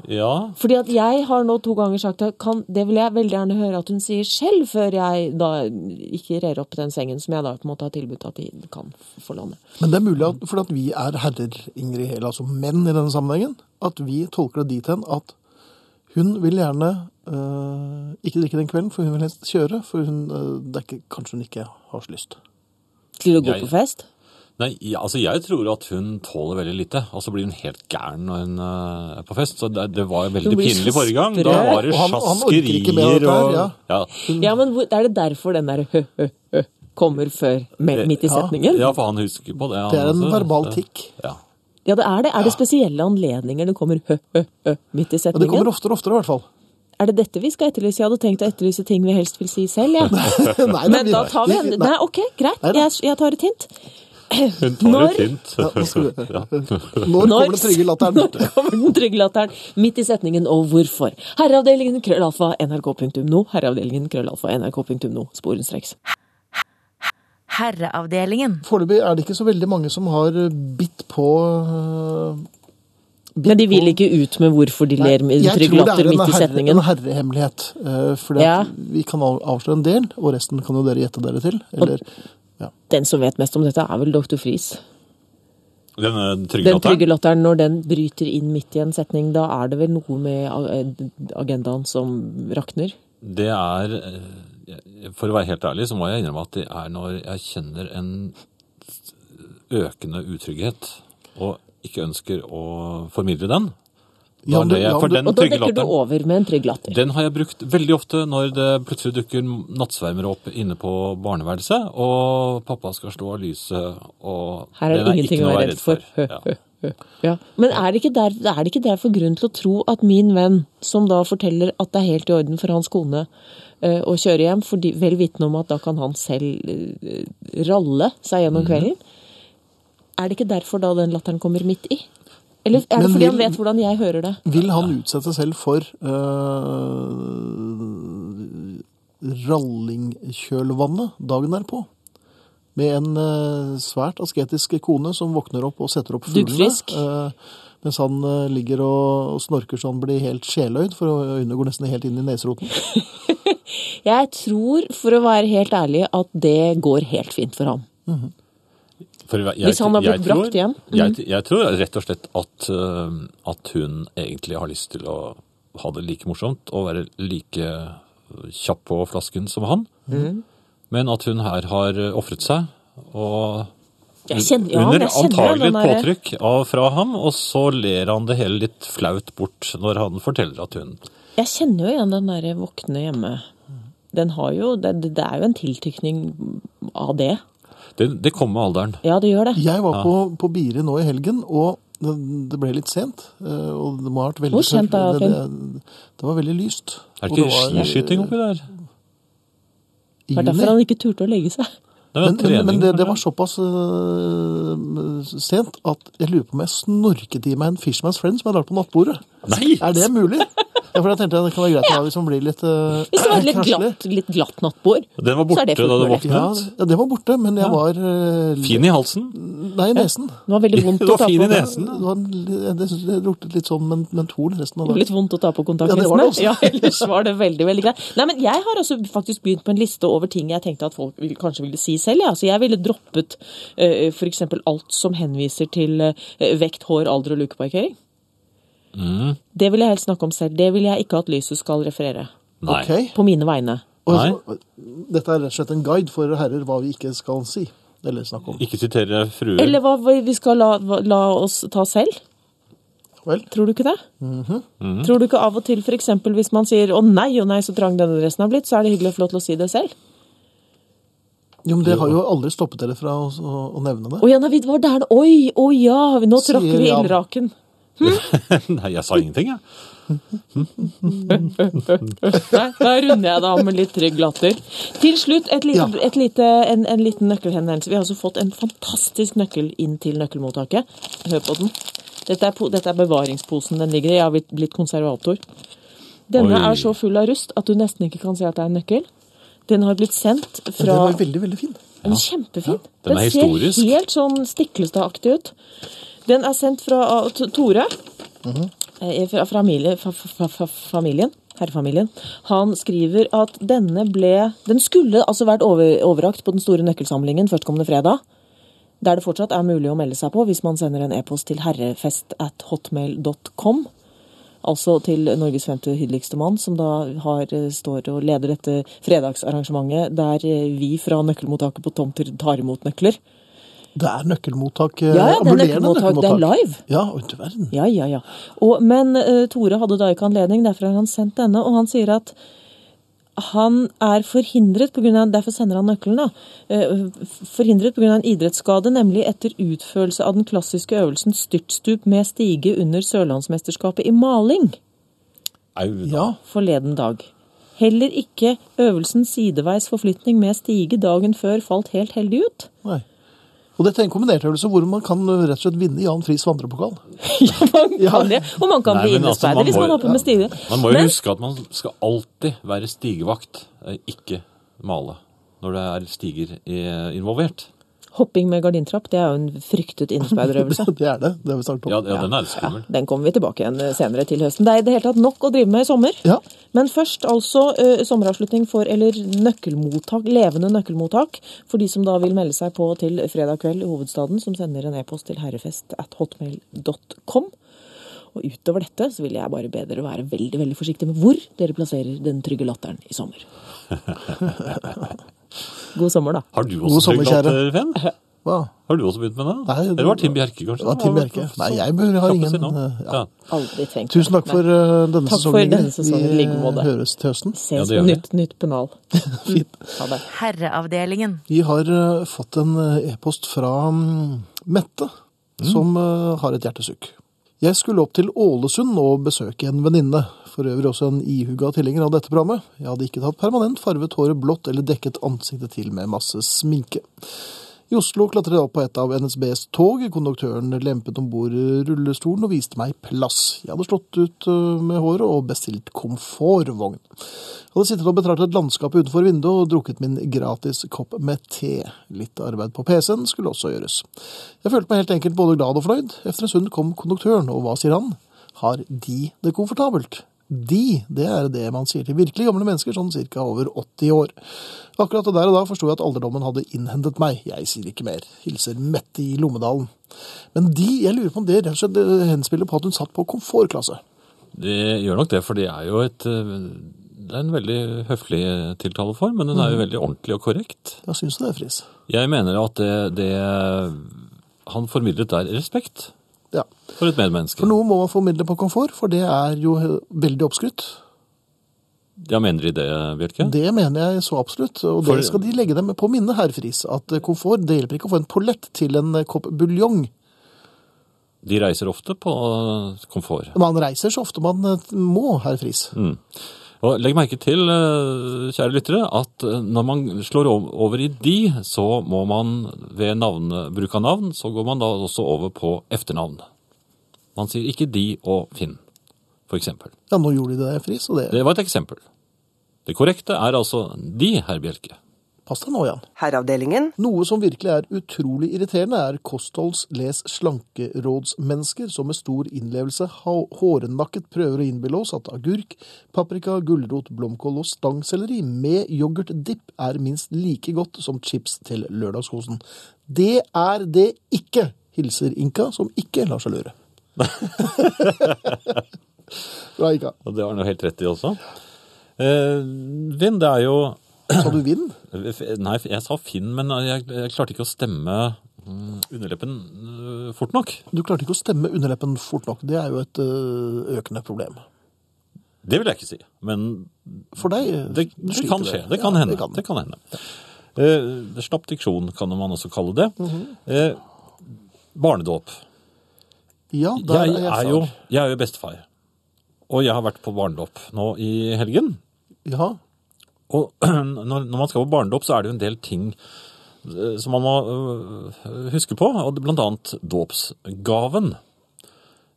Speaker 1: ja.
Speaker 4: Fordi at jeg har nå to ganger sagt at kan, det vil jeg veldig gjerne høre at hun sier selv, før jeg da ikke rer opp den sengen som jeg da på en måte har tilbudt at de kan få låne.
Speaker 2: Men det er mulig at, fordi at vi er herrer, Ingrid, eller altså menn i denne sammenhengen, at vi tolker det dit hen at hun vil gjerne øh, ikke drikke den kvelden, for hun vil helst kjøre, for hun, øh, det er ikke, kanskje hun ikke har så lyst.
Speaker 4: Til å gå
Speaker 1: Jeg-
Speaker 4: på fest?
Speaker 1: Nei, ja, altså Jeg tror at hun tåler veldig lite, og så blir hun helt gæren når hun eh, er på fest. Så Det, det var veldig
Speaker 4: Hun blir
Speaker 1: pinlig
Speaker 4: så
Speaker 1: forrige gang. Da
Speaker 4: sprø.
Speaker 1: var det
Speaker 2: Og han- han orker ikke mer av
Speaker 1: sjaskerier
Speaker 2: dette her,
Speaker 1: og
Speaker 2: ja.
Speaker 1: ja.
Speaker 4: Ja, men hvor, er det derfor den der hø-hø-hø kommer før me- midt i setningen?
Speaker 1: ja, for han husker på det. han
Speaker 2: Det er en
Speaker 1: også.
Speaker 2: verbal
Speaker 1: Det-
Speaker 2: tikk.
Speaker 1: Ja.
Speaker 4: Ja, det er det. Er det spesielle anledninger det kommer hø-hø-hø midt i
Speaker 2: Og det kommer
Speaker 4: setningen?
Speaker 2: oftere og oftere, i hvert fall.
Speaker 4: Er det dette vi skal etterlyse? Jeg hadde tenkt å etterlyse ting vi helst vil si selv, jeg.
Speaker 2: Nei, nei,
Speaker 4: Men
Speaker 2: vi-
Speaker 4: da tar vi en
Speaker 2: vi-
Speaker 4: Nei, ok, greit.
Speaker 2: Nei da.
Speaker 4: Jeg, jeg tar et hint.
Speaker 1: Hun tar
Speaker 4: Når-
Speaker 1: et hint.
Speaker 2: Ja, nå skal vi- Når kommer den trygge latteren?
Speaker 4: Når kommer den trygge latteren? Midt i setningen, og hvorfor? Herreavdelingen krøllalfa nrk.no. Herreavdelingen krøllalfa nrk.no. Sporenstreks.
Speaker 3: Herreavdelingen.
Speaker 2: Foreløpig er det ikke så veldig mange som har bitt på øh,
Speaker 4: Men de vil ikke ut med hvorfor de ler med
Speaker 2: Jeg
Speaker 4: trygg
Speaker 2: tror det er
Speaker 4: latter
Speaker 2: en
Speaker 4: midt i
Speaker 2: herre-
Speaker 4: setningen.
Speaker 2: En herrehemmelighet. eh, Fordi at
Speaker 4: Ja.
Speaker 2: vi kan av- avsløre en del, og resten kan jo dere gjette dere til. Eller, ja.
Speaker 4: Den som vet mest om dette, er vel Dr. Friis.
Speaker 1: Denne eh, trygge
Speaker 4: Den trygge
Speaker 1: latteren.
Speaker 4: latteren, når den bryter inn midt i en setning, da er det vel noe med a- agendaen som rakner?
Speaker 1: Det er eh, For å være helt ærlig, så må jeg innrømme at det er når jeg kjenner en økende utrygghet og ikke ønsker å formidle den.
Speaker 2: Ja,
Speaker 1: Når
Speaker 2: men-
Speaker 1: det,
Speaker 2: ja,
Speaker 1: for
Speaker 2: men-
Speaker 1: den
Speaker 4: Og da
Speaker 1: trygge
Speaker 4: dekker du
Speaker 1: latteren
Speaker 4: over med en trygg latter.
Speaker 1: Den har jeg brukt veldig ofte når det plutselig dukker nattsvermere opp inne på barneværelset, og pappa skal slå av lyset, og
Speaker 4: Her er
Speaker 1: den
Speaker 4: det ingenting å være redd for.
Speaker 1: Ja.
Speaker 4: Ja. Men er det, ikke der, er det ikke derfor grunn til å tro at min venn, som da forteller at det er helt i orden for hans kone eh, å kjøre hjem, fordi, vel vitende om at da kan han selv eh, ralle seg gjennom kvelden, er det ikke derfor da den latteren kommer midt i? Eller er det
Speaker 2: Men
Speaker 4: fordi han
Speaker 2: vil-
Speaker 4: vet hvordan jeg hører det?
Speaker 2: Vil han utsette seg selv for eh, øh, rallingkjølvannet dagen derpå? Med en øh, svært asketisk kone som våkner opp og setter opp fuglene.
Speaker 4: Duggfrisk.
Speaker 2: øh, mens han øh, ligger og, og snorker så han blir helt sjeløyd, for øynene går nesten helt inn i neseroten.
Speaker 4: Jeg tror, for å være helt ærlig, at det går helt fint for ham.
Speaker 1: For jeg-
Speaker 4: Hvis han har blitt
Speaker 1: jeg tror-
Speaker 4: brakt hjem. Mm.
Speaker 1: Jeg, jeg tror rett og slett at, øh, at hun egentlig har lyst til å ha det like morsomt og være like kjapp på flasken som han.
Speaker 4: Mm.
Speaker 1: Men at hun her har ofret seg, og
Speaker 4: Jeg kjenner, ja, men
Speaker 1: under
Speaker 4: jeg kjenner
Speaker 1: antagelig
Speaker 4: den
Speaker 1: et
Speaker 4: der-
Speaker 1: påtrykk av, fra ham, og så ler han det hele litt flaut bort når han forteller at hun
Speaker 4: Jeg kjenner jo igjen den derre våkne hjemme. Den har jo, det, det er jo en tiltykning av det.
Speaker 1: Det, det kommer med alderen.
Speaker 4: Ja, det gjør det.
Speaker 2: Jeg var på, på Biri nå i helgen, og det, det ble litt sent. eh, Og det må ha vært veldig
Speaker 4: Hvor sent da,
Speaker 2: det, det, det var veldig lyst.
Speaker 1: Er
Speaker 2: Og
Speaker 1: det ikke
Speaker 2: var
Speaker 1: skiskyting oppi der?
Speaker 2: i
Speaker 4: Det er derfor
Speaker 2: juni.
Speaker 4: han ikke turte å legge seg.
Speaker 1: Det er
Speaker 2: Men, men,
Speaker 1: trening,
Speaker 2: men det, det
Speaker 1: kanskje?
Speaker 2: var såpass eh, sent at jeg lurer på om jeg snorket i meg en Fishman's Friend som jeg hadde lagt på nattbordet.
Speaker 1: Nei!
Speaker 2: Er det mulig? Ja, for da tenkte jeg det kan være greit å ha hvis man blir litt eh,
Speaker 4: Hvis det var et litt
Speaker 2: krasselig.
Speaker 4: glatt, litt glatt nattbord.
Speaker 1: Den var
Speaker 4: Så er
Speaker 1: borte
Speaker 4: det
Speaker 1: da du
Speaker 4: fullt mulig.
Speaker 1: våknet.
Speaker 2: Ja, ja, det var borte, men jeg var eh, litt-
Speaker 1: Fin i halsen.
Speaker 2: Nei, i nesen.
Speaker 4: Det var veldig vondt
Speaker 1: Det
Speaker 4: å
Speaker 1: var
Speaker 4: ta
Speaker 1: fin i
Speaker 4: på
Speaker 1: nesen.
Speaker 2: Det, var, en- det, det luktet litt sånn men- mentol resten av
Speaker 4: Det var
Speaker 2: dagen.
Speaker 4: litt vondt å ta
Speaker 2: Ja,
Speaker 4: på
Speaker 2: det var
Speaker 4: kontaktlistene.
Speaker 2: det også.
Speaker 4: Ja, ellers var det veldig, veldig greit. Nei, men jeg har også faktisk begynt på en liste over ting jeg tenkte at folk vil, kanskje ville si selv. Ja. Så jeg ville droppet eh, for eksempel alt som henviser til eh, vekt, hår, alder og lukeparkering.
Speaker 2: Mm.
Speaker 4: Det vil jeg helst snakke om selv. Det vil jeg ikke at lyset skal referere.
Speaker 1: Nei.
Speaker 2: Ok.
Speaker 4: På mine vegne.
Speaker 2: Og
Speaker 1: Nei.
Speaker 2: så- dette er rett og slett en guide for herrer hva vi ikke skal si eller snakke om.
Speaker 1: Ikke sitere fruer.
Speaker 4: Eller hva vi vi skal la, hva- la oss ta selv.
Speaker 2: Vel,
Speaker 4: Tror du ikke det?
Speaker 2: Mm-hmm.
Speaker 4: Tror du ikke av og til f.eks. hvis man sier 'å nei, å nei, så trang denne dressen har blitt', så er det hyggelig og flott å si det selv?
Speaker 2: jo, men Det har jo aldri stoppet dere fra å, å, å nevne det.
Speaker 4: Å ja, nei, vi var der. Oi, å ja, nå tråkker vi i
Speaker 2: Jan.
Speaker 4: ildraken.
Speaker 1: Nei, jeg sa ingenting, jeg.
Speaker 4: Nei, da runder jeg det av med litt trygg latter. Til slutt et lite,
Speaker 2: Ja.
Speaker 4: et lite, en, en liten nøkkelhendelse. Vi har altså fått en fantastisk nøkkel inn til nøkkelmottaket. Hør på den. Dette er, po- dette er bevaringsposen den ligger i. Jeg har blitt- blitt konservator. Denne
Speaker 1: Oi.
Speaker 4: er så full av rust at du nesten ikke kan si at det er en nøkkel. Den har blitt sendt
Speaker 2: Men Den
Speaker 4: fra
Speaker 2: var veldig, veldig fin.
Speaker 4: Den er kjempefin.
Speaker 1: Den er historisk.
Speaker 4: ser helt sånn Stiklestad-aktig ut. Den er sendt fra av T- Tore.
Speaker 1: Mhm.
Speaker 4: eh, fra, fra, familie, fra, fra, fra familien. Herrefamilien. Han skriver at denne ble Den skulle altså vært over, overrakt på den store nøkkelsamlingen førstkommende fredag. Der det fortsatt er mulig å melde seg på hvis man sender en e-post til herrefest at hotmail.com. Altså til Norges femte hyggeligste mann, som da har, eh, står og leder dette fredagsarrangementet der eh, vi fra nøkkelmottaket på Tomter tar imot nøkler.
Speaker 2: Det er nøkkelmottak. eh,
Speaker 4: Ja, ja, det er
Speaker 2: ambulerende
Speaker 4: nøkkelmottak. Det er live.
Speaker 2: Ja, og ikke verden.
Speaker 4: Ja, ja, ja. Og, men eh, Tore hadde da ikke anledning, derfor har han sendt denne, og han sier at han er forhindret på grunn av, Derfor sender han nøkkelen, da. eh, Forhindret pga. en idrettsskade, nemlig etter utførelse av den klassiske øvelsen styrtstup med stige under Sørlandsmesterskapet i maling
Speaker 1: Au, da.
Speaker 2: Ja,
Speaker 4: forleden dag. Heller ikke øvelsen sideveis forflytning med stige dagen før falt helt heldig ut.
Speaker 2: nei. Og dette er en kombinertøvelse hvor man kan eh, rett og slett vinne Jan Friis vandrepokal.
Speaker 4: Ja, man kan det. Og man kan
Speaker 1: Nei,
Speaker 4: bli
Speaker 1: men altså,
Speaker 4: innespeider
Speaker 1: man
Speaker 4: hvis
Speaker 1: må
Speaker 4: man
Speaker 1: jo-
Speaker 4: hopper med stige.
Speaker 1: Man må jo
Speaker 4: Men-
Speaker 1: huske at man skal alltid være stigevakt, eh, ikke male, når det er stiger i- involvert.
Speaker 4: Hopping med gardintrapp det er jo en fryktet innespeiderøvelse.
Speaker 2: Det er det. Det har vi snakket om.
Speaker 1: Ja, ja, den er litt skummel.
Speaker 4: Den kommer vi tilbake igjen eh, senere til høsten. Det er i det hele tatt nok å drive med i sommer.
Speaker 2: Ja.
Speaker 4: Men først altså eh, sommeravslutning for, eller nøkkelmottak, levende nøkkelmottak, for de som da vil melde seg på til fredag kveld i hovedstaden, som sender en e-post til herrefest at hotmail.com. Og utover dette så vil jeg bare be dere være veldig, veldig forsiktige med hvor dere plasserer den trygge latteren i sommer. God sommer, da.
Speaker 1: Har du
Speaker 2: God
Speaker 1: også
Speaker 2: sommer,
Speaker 1: trykt
Speaker 2: kjære.
Speaker 1: latter, Fenn?
Speaker 2: Hva?
Speaker 1: Har du også begynt med det?
Speaker 2: Nei, det-
Speaker 1: Eller var det Tim Bjerke, kanskje?
Speaker 2: Det var Tim Bjerke. Nei, jeg bør- har ingen, eh, ja.
Speaker 1: Ja.
Speaker 4: Aldri tenkt på
Speaker 2: Tusen takk
Speaker 4: det.
Speaker 2: for eh, denne
Speaker 4: Takk for
Speaker 2: sesongen.
Speaker 4: denne sesongen, i
Speaker 2: Vi
Speaker 4: like måte.
Speaker 2: eh, høres til høsten.
Speaker 1: Ja,
Speaker 4: Ses
Speaker 1: det gjør vi.
Speaker 4: nytt, nytt pennal.
Speaker 2: Fint.
Speaker 4: Ha det.
Speaker 3: Herreavdelingen.
Speaker 2: Vi har eh, fått en eh, e-post fra mm, Mette, som eh, har et hjertesukk. Jeg skulle opp til Ålesund og besøke en venninne, for øvrig også en ihuga tilhenger av dette programmet. Jeg hadde ikke tatt permanent farvet håret blått eller dekket ansiktet til med masse sminke. I Oslo klatret jeg opp på et av NSBs tog. Konduktøren lempet om bord rullestolen og viste meg plass. Jeg hadde slått ut øh, med håret og bestilt komfortvogn. Jeg hadde sittet og betraktet landskapet utenfor vinduet og drukket min gratis kopp med te. Litt arbeid på PC-en skulle også gjøres. Jeg følte meg helt enkelt både glad og fornøyd. Efter en stund kom konduktøren, og hva sier han? Har de det komfortabelt? De, det er det man sier til virkelig gamle mennesker, sånn ca. over 80 år. Akkurat der og da forsto jeg at alderdommen hadde innhentet meg. Jeg sier ikke mer. Hilser Mette i Lommedalen. Men de, jeg lurer på om det rett og slett eh, henspiller på at hun satt på komfortklasse.
Speaker 1: Det gjør nok det, for det er jo et eh, det er en veldig høflig eh, tiltaleform, men den er jo
Speaker 2: Mm.
Speaker 1: veldig ordentlig og korrekt.
Speaker 2: Ja, syns du det, Friis?
Speaker 1: Jeg mener at det, det Han formidlet der respekt
Speaker 2: Ja.
Speaker 1: for et medmenneske.
Speaker 2: For noe må man formidle på komfort, for det er jo eh, veldig oppskrytt.
Speaker 1: Ja, mener de det, Bjørke?
Speaker 2: Det mener jeg så absolutt, og
Speaker 1: For-
Speaker 2: det skal de legge dem på minne, herr Friis, at eh, komfort, det hjelper ikke å få en pollett til en eh, kopp buljong.
Speaker 1: De reiser ofte på eh, komfort.
Speaker 2: Man reiser så ofte man eh, må, herr Friis.
Speaker 1: Mm. Og legg merke til, eh, kjære lyttere, at eh, når man slår ov- over i de, så må man ved navne, bruk av navn, så går man da også over på etternavn. Man sier ikke de og Finn, for eksempel.
Speaker 2: Ja, nå gjorde de det, Friis, og det
Speaker 1: Det var et eksempel. Det korrekte er altså de, herr Bjelke.
Speaker 2: Pass deg nå, Jan.
Speaker 5: Herreavdelingen.
Speaker 2: Noe som virkelig er utrolig irriterende, er kostholds- les slankerådsmennesker som med stor innlevelse ha- hårnakket prøver å innbille oss at agurk, paprika, gulrot, blomkål og stangselleri med yoghurtdipp er minst like godt som chips til lørdagskosen. Det er det ikke, hilser Inka, som ikke lar seg lure. Bra, Inka.
Speaker 1: Og det har han jo helt rett i også. Eh, Vinn, det er jo
Speaker 2: Sa du vinn?
Speaker 1: Nei, jeg sa Finn, men jeg, jeg klarte ikke å stemme mm, underleppen eh, fort nok.
Speaker 2: Du klarte ikke å stemme underleppen fort nok. Det er jo et ø, økende problem.
Speaker 1: Det vil jeg ikke si, men
Speaker 2: For deg ø,
Speaker 1: det, det
Speaker 2: sliter
Speaker 1: kan skje. Det kan
Speaker 2: Ja,
Speaker 1: hende. Det kan hende. Eh, slapp diksjon kan man også kalle det. eh, barnedåp.
Speaker 2: Ja, der
Speaker 1: Jeg
Speaker 2: er jeg
Speaker 1: er,
Speaker 2: far.
Speaker 1: jo, jeg er jo bestefar, og jeg har vært på barnedåp nå i helgen.
Speaker 2: Ja,
Speaker 1: Og når, når man skal på barnedåp, så er det jo en del ting eh, som man må øh, huske på, og det- blant annet dåpsgaven.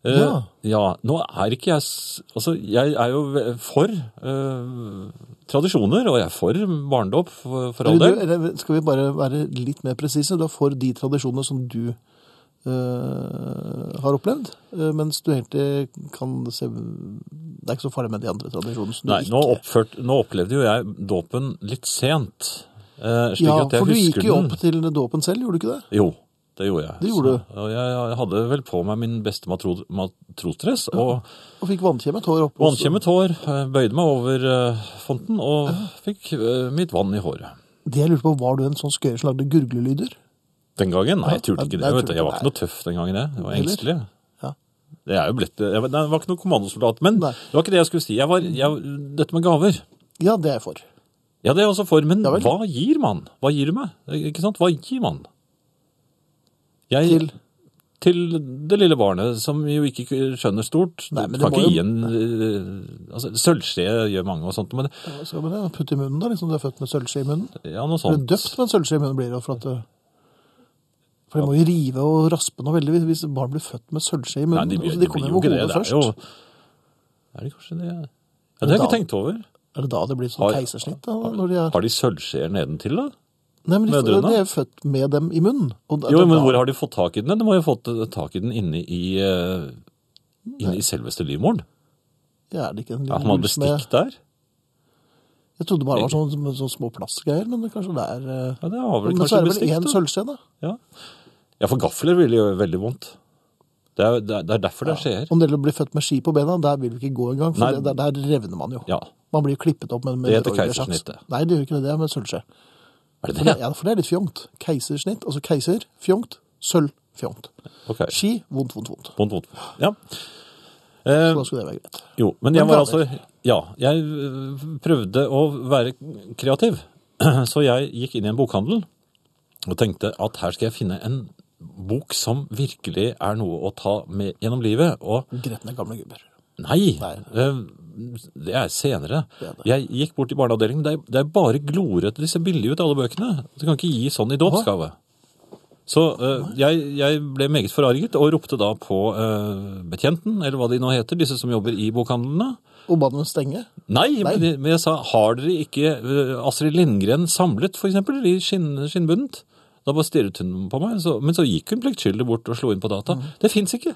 Speaker 1: Eh,
Speaker 2: Ja.
Speaker 1: ja. Nå er ikke jeg s- Altså, jeg er jo ve- for eh, tradisjoner, og jeg er for barnedåp, for, for all
Speaker 2: Eller
Speaker 1: del.
Speaker 2: du, eller skal vi bare være litt mer presise? Du er for de tradisjonene som du øh, har opplevd, øh, mens du egentlig kan se Det er ikke så farlig med de andre tradisjonene. som du
Speaker 1: Nei,
Speaker 2: ikke-
Speaker 1: nå, oppført, nå opplevde jo jeg dåpen litt sent. eh, Slik
Speaker 2: ja,
Speaker 1: at jeg
Speaker 2: for du
Speaker 1: husker
Speaker 2: gikk jo
Speaker 1: den.
Speaker 2: opp til dåpen selv, gjorde du ikke det?
Speaker 1: Jo, det gjorde jeg.
Speaker 2: Det gjorde
Speaker 1: Så- Og jeg hadde vel på meg min beste matro, matrosdress, og
Speaker 2: Og fikk vannkjemmet hår opp. og så-
Speaker 1: vannkjemmet hår, eh, bøyde meg over eh, fonten og fikk eh, mitt vann i håret.
Speaker 2: Det jeg lurte på, var du en sånn skøyer som lagde gurglelyder?
Speaker 1: Den gangen? Nei, jeg turte ikke det.
Speaker 2: Nei, jeg
Speaker 1: Vet du.
Speaker 2: turte
Speaker 1: Jeg var
Speaker 2: ikke.
Speaker 1: ikke noe tøff den gangen, jeg. Jeg var
Speaker 2: Heller?
Speaker 1: engstelig.
Speaker 2: Ja.
Speaker 1: Det er jo blitt, eh, jeg, vet- nei, jeg var ikke noen kommandosoldat, men
Speaker 2: Nei.
Speaker 1: det var ikke det jeg skulle si. Jeg var, jeg, dette med gaver.
Speaker 2: Ja, det er jeg for.
Speaker 1: Ja, det er jeg også for, men
Speaker 2: Ja vel.
Speaker 1: hva gir man? Hva gir du meg? Ikke sant? Hva gir man? Jeg,
Speaker 2: Til?
Speaker 1: Til det lille barnet, som jo ikke skjønner stort.
Speaker 2: Nei,
Speaker 1: du
Speaker 2: men det
Speaker 1: kan
Speaker 2: må
Speaker 1: ikke
Speaker 2: jo-
Speaker 1: gi en eh, altså, Sølvskje gjør mange og sånt, men
Speaker 2: Ja, Eh, Skal man det? putte i munnen, da? Liksom du er født med sølvskje i munnen?
Speaker 1: ja, noe
Speaker 2: Du er
Speaker 1: sånt.
Speaker 2: døpt med en sølvskje i munnen, blir det jo. For, at, du- for det må jo rive og raspe noe veldig hvis- hvis barn blir født med sølvskje i
Speaker 1: Nei,
Speaker 2: munnen.
Speaker 1: de, blir-
Speaker 2: altså,
Speaker 1: de blir
Speaker 2: kommer jo
Speaker 1: jo ikke
Speaker 2: med
Speaker 1: det. Det
Speaker 2: hodet
Speaker 1: er jo
Speaker 2: først.
Speaker 1: Er det kanskje det? Ja, det har jeg ikke tenkt over.
Speaker 2: Er det da det blir
Speaker 1: Har-
Speaker 2: sånn keisersnitt? Da, når de er...
Speaker 1: Har de sølvskjeer nedentil, da?
Speaker 2: Nei, men de,
Speaker 1: mødrene?
Speaker 2: de er jo født med dem i munnen. Og det-
Speaker 1: Jo,
Speaker 2: det-
Speaker 1: men
Speaker 2: da-
Speaker 1: hvor har de fått tak i den? De må jo ha fått tak i den inne i, eh, inne i selveste livmoren.
Speaker 2: Ja, Er det ikke en
Speaker 1: Ja,
Speaker 2: liten
Speaker 1: han hadde
Speaker 2: guls med
Speaker 1: bestikk der.
Speaker 2: Jeg trodde bare det var sånn- sånne sånn små plastgreier, men det kanskje det er eh,
Speaker 1: Ja, det har vel
Speaker 2: Men så
Speaker 1: kanskje
Speaker 2: er det vel
Speaker 1: bestikk,
Speaker 2: én
Speaker 1: da.
Speaker 2: sølvskje, da.
Speaker 1: Ja. ja, for gafler vil gjøre veldig vondt. Det er, det er- det er derfor det skjer.
Speaker 2: Om det gjelder å bli født med ski på bena, der vil du ikke gå engang, for
Speaker 1: Nei.
Speaker 2: det, der, der revner man jo.
Speaker 1: Ja.
Speaker 2: Man blir klippet opp med, med
Speaker 1: Det heter
Speaker 2: broilersaks.
Speaker 1: keisersnitt, det.
Speaker 2: Nei, det gjør ikke det. Det er med sølvskje.
Speaker 1: Er det
Speaker 2: For det,
Speaker 1: det?
Speaker 2: ja, for det er litt fjongt. Keisersnitt, altså keiser, fjongt, sølv, fjongt.
Speaker 1: Ok.
Speaker 2: Ski, vondt, vondt, vondt.
Speaker 1: Vondt, vondt. Ja. Eh,
Speaker 2: Da skulle det være greit.
Speaker 1: jo, men jeg
Speaker 2: Men
Speaker 1: var
Speaker 2: gaver.
Speaker 1: altså Ja, jeg øh, prøvde å være kreativ. Så jeg gikk inn i en bokhandel og tenkte at her skal jeg finne en bok som virkelig er noe å ta med gjennom livet. Og
Speaker 2: Gretne gamle gubber.
Speaker 1: Nei,
Speaker 2: Nei.
Speaker 1: eh, det er senere.
Speaker 2: Det er det.
Speaker 1: Jeg gikk bort i barneavdelingen. Det er, det er bare glorete. De ser billige ut, alle bøkene. Du kan ikke gi sånn i dåpsgave. Så eh, jeg, jeg ble meget forarget og ropte da på eh, betjenten, eller hva de nå heter, disse som jobber i bokhandlene.
Speaker 2: Og ba dem stenge.
Speaker 1: Nei,
Speaker 2: Nei.
Speaker 1: Men, de- men jeg sa har dere ikke eh, Astrid Lindgren samlet, for eksempel, i skinn, skinnbundet? Da bare stirret hun på meg, så, men så gikk hun pliktskyldig bort og slo inn på data. Det fins ikke!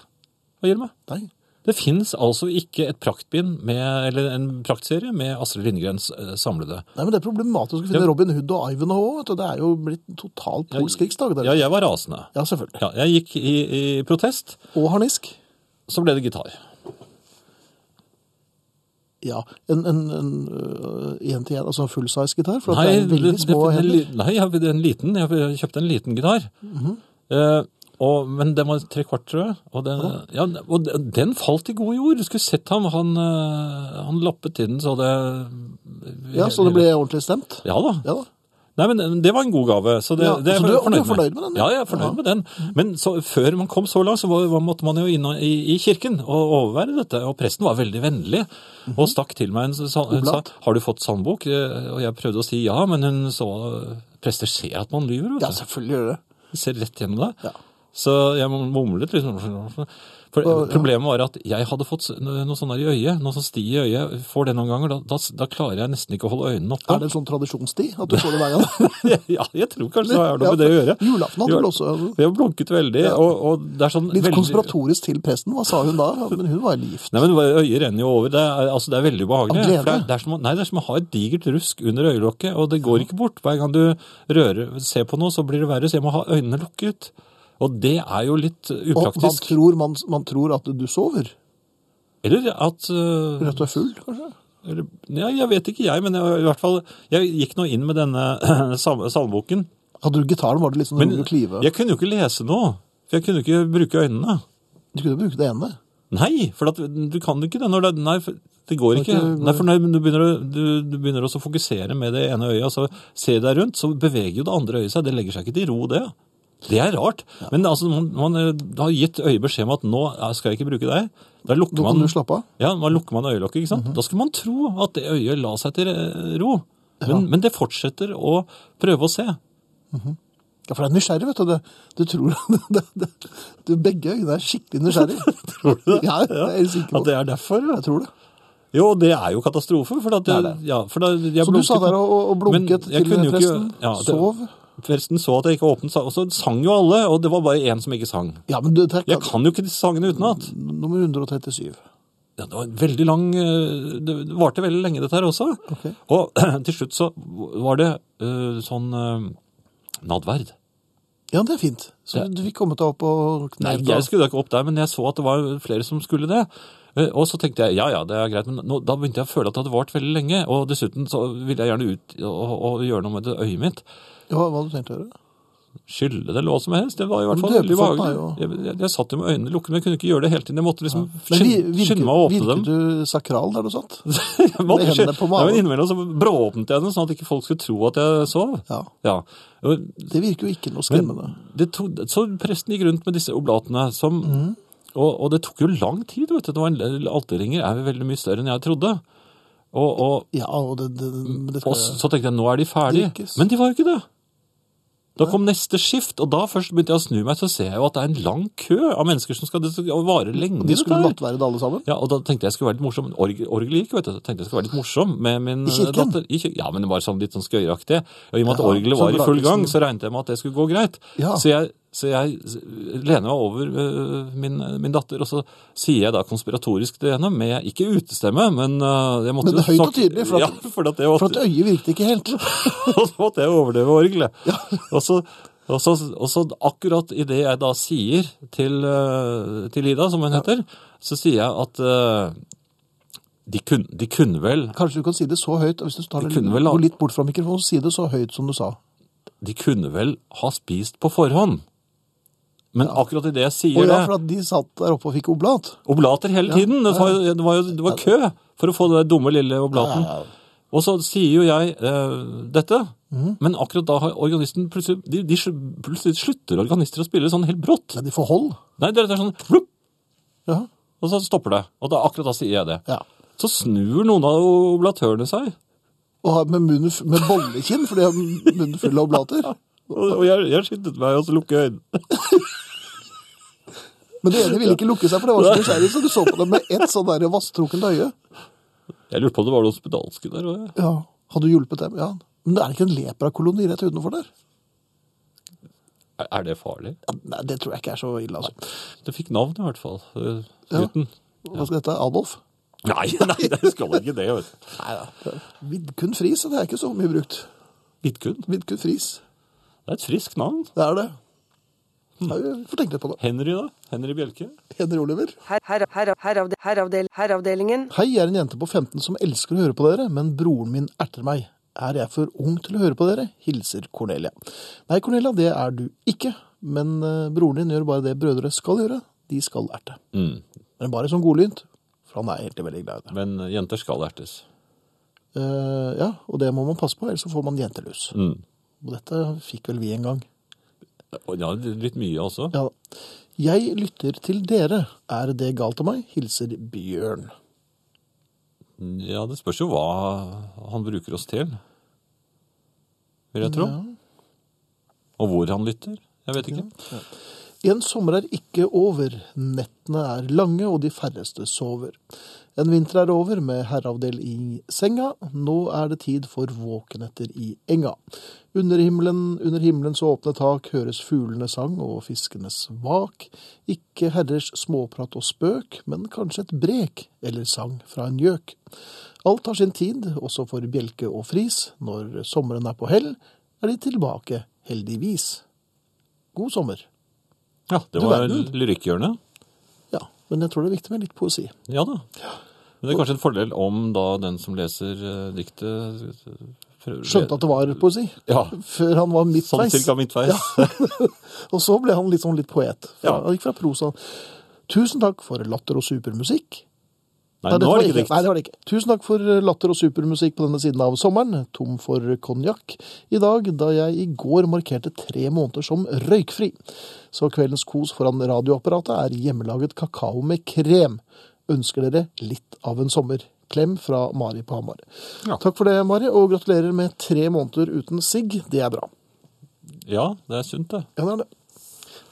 Speaker 1: Hva gir du meg?
Speaker 2: Nei.
Speaker 1: Det fins altså ikke et praktbind med, eller en praktserie med Astrid Lindgrens eh, samlede.
Speaker 2: Nei, men Det er problematisk å finne Robin Hood og Ivanhoe òg, vet du. Det er jo blitt total polsk krigsdag. der.
Speaker 1: Ja, jeg var rasende.
Speaker 2: ja, selvfølgelig.
Speaker 1: Ja, jeg gikk i, i protest,
Speaker 2: Og harnisk.
Speaker 1: så ble det gitar.
Speaker 2: Ja. En én-til-én, altså en fullsize-gitar. For at det
Speaker 1: Nei,
Speaker 2: er veldig
Speaker 1: det- det-
Speaker 2: små
Speaker 1: det-
Speaker 2: hender.
Speaker 1: Nei, jeg, det er en liten, jeg kjøpte en liten gitar. Eh, og, men den var tre kvart, tror jeg. Og den, ja, og den- den falt i god jord. Du skulle sett ham. Han, eh, han lappet til den så det
Speaker 2: Ja, Så det ble ordentlig stemt?
Speaker 1: Ja da.
Speaker 2: Ja da.
Speaker 1: Nei, men Det var en god gave. så det,
Speaker 2: Ja,
Speaker 1: det er
Speaker 2: så
Speaker 1: jeg
Speaker 2: du er-
Speaker 1: fornøyd,
Speaker 2: du er fornøyd med den,
Speaker 1: Ja,
Speaker 2: ja.
Speaker 1: jeg er fornøyd med den. Men så, før man kom så langt, så var, var- måtte man jo inn i, i kirken og overvære dette. Og presten var veldig vennlig og stakk til meg. Hun sa, hun sa
Speaker 2: Mhm. Oblat.
Speaker 1: 'Har du fått sandbok?' Eh, Og jeg prøvde å si ja, men hun så Prester ser at man lyver, vet
Speaker 2: Ja,
Speaker 1: du.
Speaker 2: selvfølgelig gjør det det.
Speaker 1: De ser rett gjennom deg.
Speaker 2: Ja.
Speaker 1: Så jeg mumlet liksom. For
Speaker 2: Og- ja.
Speaker 1: Problemet var at jeg hadde fått s- no- noe sånt der i øyet. Noe som sti i øyet. Får det noen ganger, da, da, s- da klarer jeg nesten ikke å holde øynene
Speaker 2: Er
Speaker 1: oppe.
Speaker 2: det en sånn tradisjonstid at du får det hver gang?
Speaker 1: ja, jeg tror kanskje det har noe med det å gjøre.
Speaker 2: Julaften hadde
Speaker 1: Jo,
Speaker 2: vel også- altså.
Speaker 1: Vi har blunket veldig, og, og det er sånn
Speaker 2: Litt
Speaker 1: veldig-
Speaker 2: konspiratorisk til presten, hva sa hun da? Men hun var gift.
Speaker 1: Nei, men Øyet renner jo over. Det er, altså, det er veldig ubehagelig.
Speaker 2: Av glede?
Speaker 1: For det, er, det, er som, å- nei, det er som å ha et digert rusk under øyelokket, og det går ikke bort. Hver gang du rører, ser på noe, så blir det verre, så jeg må ha øynene lukket. Og det er jo litt
Speaker 2: Og man
Speaker 1: upraktisk.
Speaker 2: tror, man, man tror at du sover.
Speaker 1: Eller at øh,
Speaker 2: Fordi at du er full, kanskje?
Speaker 1: eller, ja, Jeg vet ikke, jeg, men jeg, i hvert fall Jeg gikk nå inn med denne sal- salmeboken.
Speaker 2: Hadde du gitaren, var det litt sånn
Speaker 1: Men
Speaker 2: rolig å klive.
Speaker 1: jeg kunne jo ikke lese noe. For jeg kunne ikke bruke øynene.
Speaker 2: Du kunne bruke det ene.
Speaker 1: Nei, for at, du kan ikke det når det Nei, for det går ikke.
Speaker 2: ikke-
Speaker 1: Nei, for når du begynner, å, du, du begynner også å fokusere med det ene øyet, og så ser deg rundt, så beveger jo det andre øyet seg. Det legger seg ikke til ro, det. Det er rart. Men altså, man, man eh, har gitt øyet beskjed om at nå eh, skal jeg ikke bruke deg. Da lukker
Speaker 2: Da kan
Speaker 1: man,
Speaker 2: du slappe av. Mhm.
Speaker 1: ja, man lukker man øyelokket, ikke sant? Da skulle man tro at det øyet la seg til eh, ro. Men, men det fortsetter å prøve å se.
Speaker 2: Ja, for det er nysgjerrig, vet du. Det- Du tror det, det, du, Begge øyne er skikkelig nysgjerrig. tror du det? Ja, det er jeg helt sikker på.
Speaker 1: At det er derfor. ja.
Speaker 2: Jeg tror det.
Speaker 1: Jo, det er jo katastrofe. For at,
Speaker 2: Det er det.
Speaker 1: Ja, for da, jeg
Speaker 2: Så du sa
Speaker 1: blunket-
Speaker 2: der og, og blunket
Speaker 1: Men jeg
Speaker 2: til
Speaker 1: kunne jo ikke-
Speaker 2: presten?
Speaker 1: ja, det-
Speaker 2: Sov?
Speaker 1: Forresten så at jeg ikke åpnet, sa- og så sang jo alle, og det var bare én som ikke sang.
Speaker 2: Ja, men du, det er
Speaker 1: Jeg
Speaker 2: klart.
Speaker 1: kan jo ikke disse sangene utenat.
Speaker 2: Nummer 137.
Speaker 1: Ja, det var en veldig lang eh, Det varte veldig lenge, dette her også.
Speaker 2: Ok.
Speaker 1: Og til slutt så var det eh, sånn eh, nadverd.
Speaker 2: Ja, det er fint. Så du fikk kommet deg opp og
Speaker 1: Nei,
Speaker 2: knelt
Speaker 1: jeg
Speaker 2: av.
Speaker 1: skulle da ikke opp der, men jeg så at det var flere som skulle det. Eh, Og så tenkte jeg ja ja, det er greit, men nå, da begynte jeg å føle at det hadde vart veldig lenge. Og dessuten så ville jeg gjerne ut og, og gjøre noe med det øyet mitt.
Speaker 2: Ja, hva hadde du tenkt å gjøre?
Speaker 1: skylde det eller hva som helst. Det var i hvert
Speaker 2: Men
Speaker 1: fall
Speaker 2: døpefolk
Speaker 1: veldig
Speaker 2: er
Speaker 1: behagelig.
Speaker 2: jo-
Speaker 1: Jeg, jeg, jeg satt jo med øynene lukket, men jeg kunne ikke gjøre det hele tiden. Jeg måtte liksom
Speaker 2: Men vi-
Speaker 1: skynde, skynde meg å åpne
Speaker 2: virket
Speaker 1: dem.
Speaker 2: du sakral der du satt?
Speaker 1: Jeg måtte
Speaker 2: med hendene
Speaker 1: skynde-
Speaker 2: på
Speaker 1: Nei, men
Speaker 2: magen?
Speaker 1: innimellom så brååpnet jeg den, sånn at ikke folk skulle tro at jeg sov.
Speaker 2: Ja.
Speaker 1: Ja. Og-
Speaker 2: Det virker jo ikke noe skremmende.
Speaker 1: Men det tok, så presten gikk rundt med disse oblatene, som, og, og det tok jo lang tid, vet du. Det var en alterringer, er veldig mye større enn jeg trodde. Og, og,
Speaker 2: Ja, og det, det, men det skal
Speaker 1: og så så tenkte jeg, nå er de ferdige.
Speaker 2: Drikkes.
Speaker 1: Men de var jo ikke det. Da kom neste skift, og da først begynte jeg å snu meg, så ser jeg jo at det er en lang kø av mennesker som skal, det skal vare lenge.
Speaker 2: De skulle
Speaker 1: dette her.
Speaker 2: nattverde alle sammen?
Speaker 1: Ja, og da tenkte jeg skulle være litt morsom. Org- Orgelet gikk, vet du. Så tenkte jeg skulle være litt morsom med min
Speaker 2: I kirken?
Speaker 1: datter. I kirken? Ja, men det var sånn litt sånn skøyeraktig. Og i og med at
Speaker 2: Ja,
Speaker 1: orgelet
Speaker 2: så
Speaker 1: var i full
Speaker 2: bra,
Speaker 1: gang,
Speaker 2: liksom.
Speaker 1: så regnet jeg med at det skulle gå greit.
Speaker 2: Ja.
Speaker 1: Så, jeg, så jeg lener meg over øh, min, min datter, og så sier jeg da konspiratorisk til henne, med ikke utestemme, men øh, jeg måtte
Speaker 2: Men høyt og tydelig, for at-
Speaker 1: ja, for at det var
Speaker 2: For at øyet virket ikke helt.
Speaker 1: og så måtte jeg overdøve orgelet. Og, så, og, så, og så akkurat i det jeg da sier til, eh, til Ida, som hun heter, så sier jeg at eh, de, kun, de kunne vel
Speaker 2: Kanskje du kan si det så høyt, hvis du tar
Speaker 1: Det
Speaker 2: det,
Speaker 1: kunne vel ha-
Speaker 2: går litt bort fra mikrofonen, si det så høyt som du sa.
Speaker 1: De kunne vel ha spist på forhånd. Men akkurat i det jeg sier
Speaker 2: Og ja,
Speaker 1: det
Speaker 2: for at de satt der oppe og fikk oblat.
Speaker 1: Oblater hele tiden! Det var, jo- det var, jo- det var kø for å få den dumme lille oblaten.
Speaker 2: Ja, ja, ja.
Speaker 1: Og så sier jo jeg eh, dette,
Speaker 2: Mhm.
Speaker 1: men akkurat da har organisten plutselig de, de, sl- Plutselig slutter organister å spille sånn helt brått.
Speaker 2: Ja, de får hold.
Speaker 1: Nei, det er det er sånn plupp,
Speaker 2: Ja.
Speaker 1: og så stopper det. Og da, akkurat da sier jeg det.
Speaker 2: ja.
Speaker 1: Så snur noen av oblatørene seg.
Speaker 2: Og har med munnen f- med bollekinn, for de har munnen full av oblater.
Speaker 1: Og, og jeg, jeg skyndet meg å lukke øynene.
Speaker 2: Men det ene ville ikke lukke seg, for det var så nysgjerrig, så du så på dem med ett sånn der vasstrukkent øye.
Speaker 1: Jeg lurte på om det var noen spedalske der. og jeg-
Speaker 2: Ja. Hadde du hjulpet dem? Ja. Men det er ikke en leprakoloni rett utenfor der?
Speaker 1: Er, er det farlig?
Speaker 2: Ja, nei, det tror jeg ikke er så ille, altså.
Speaker 1: Det fikk navn i hvert fall. eh,
Speaker 2: Ja.
Speaker 1: Gutten.
Speaker 2: Hva skal dette? Adolf?
Speaker 1: Nei, nei, det skal ikke det. vet du.
Speaker 2: Nei da. Vidkun Friis, det er ikke så mye brukt.
Speaker 1: Vidkun.
Speaker 2: Vidkun Friis,
Speaker 1: Det er et friskt navn.
Speaker 2: det er det. Ja, vi får tenke litt på det.
Speaker 1: Henry, da. Henry Bjelke.
Speaker 2: Henry Oliver.
Speaker 5: Her, her, her, heravde, heravdel, heravdelingen.
Speaker 2: Hei, jeg er en jente på 15 som elsker å høre på dere, men broren min erter meg. Er jeg for ung til å høre på dere? Hilser Cornelia. Nei, Cornelia, det er du ikke. Men eh, broren din gjør bare det brødre skal gjøre. De skal erte.
Speaker 1: Mm.
Speaker 2: Men bare som godlynt, for han er egentlig veldig glad i det.
Speaker 1: Men jenter skal ertes.
Speaker 2: Eh, ja, og det må man passe på, ellers så får man jentelus.
Speaker 1: Mm.
Speaker 2: Og dette fikk vel vi en gang.
Speaker 1: Og Ja, litt mye også.
Speaker 2: Ja. Jeg lytter til dere. Er det galt av meg? Hilser Bjørn.
Speaker 1: Ja, det spørs jo hva han bruker oss til. Vil jeg tro. Og hvor han lytter. Jeg vet ikke.
Speaker 2: En sommer er ikke over, nettene er lange og de færreste sover. En vinter er over med herreavdel i senga, nå er det tid for våkenetter i enga. Under himmelen, under himmelens åpne tak høres fuglenes sang og fiskenes vak. Ikke herrers småprat og spøk, men kanskje et brek eller sang fra en gjøk. Alt har sin tid, også for bjelke og fris. Når sommeren er på hell, er de tilbake, heldigvis. God sommer.
Speaker 1: Ja, det
Speaker 2: Du
Speaker 1: var
Speaker 2: verden.
Speaker 1: lyrikkhjørnet.
Speaker 2: Ja, men jeg tror det er viktig med litt poesi.
Speaker 1: Ja da. Men det er kanskje en fordel om da den som leser eh, diktet eh, prøver-
Speaker 2: Skjønte at det var poesi.
Speaker 1: Ja.
Speaker 2: Før han var
Speaker 1: Sånn
Speaker 2: midtveis.
Speaker 1: cirka midtveis.
Speaker 2: Og så ble han litt sånn litt poet. Fra,
Speaker 1: Ja.
Speaker 2: Han gikk fra prosa. Tusen takk for latter og supermusikk.
Speaker 1: Nei, nå
Speaker 2: dette
Speaker 1: er det ikke dikt.
Speaker 2: Nei, det var det ikke. Tusen takk for latter og supermusikk på denne siden av sommeren. Tom for konjakk i dag, da jeg i går markerte tre måneder som røykfri. Så kveldens kos foran radioapparatet er hjemmelaget kakao med krem. Ønsker dere litt av en sommer? Klem fra Mari på Hamar.
Speaker 1: Ja.
Speaker 2: Takk for det, Mari, og gratulerer med tre måneder uten sigg. Det er bra.
Speaker 1: Ja, det er sunt, det.
Speaker 2: Ja, det er det.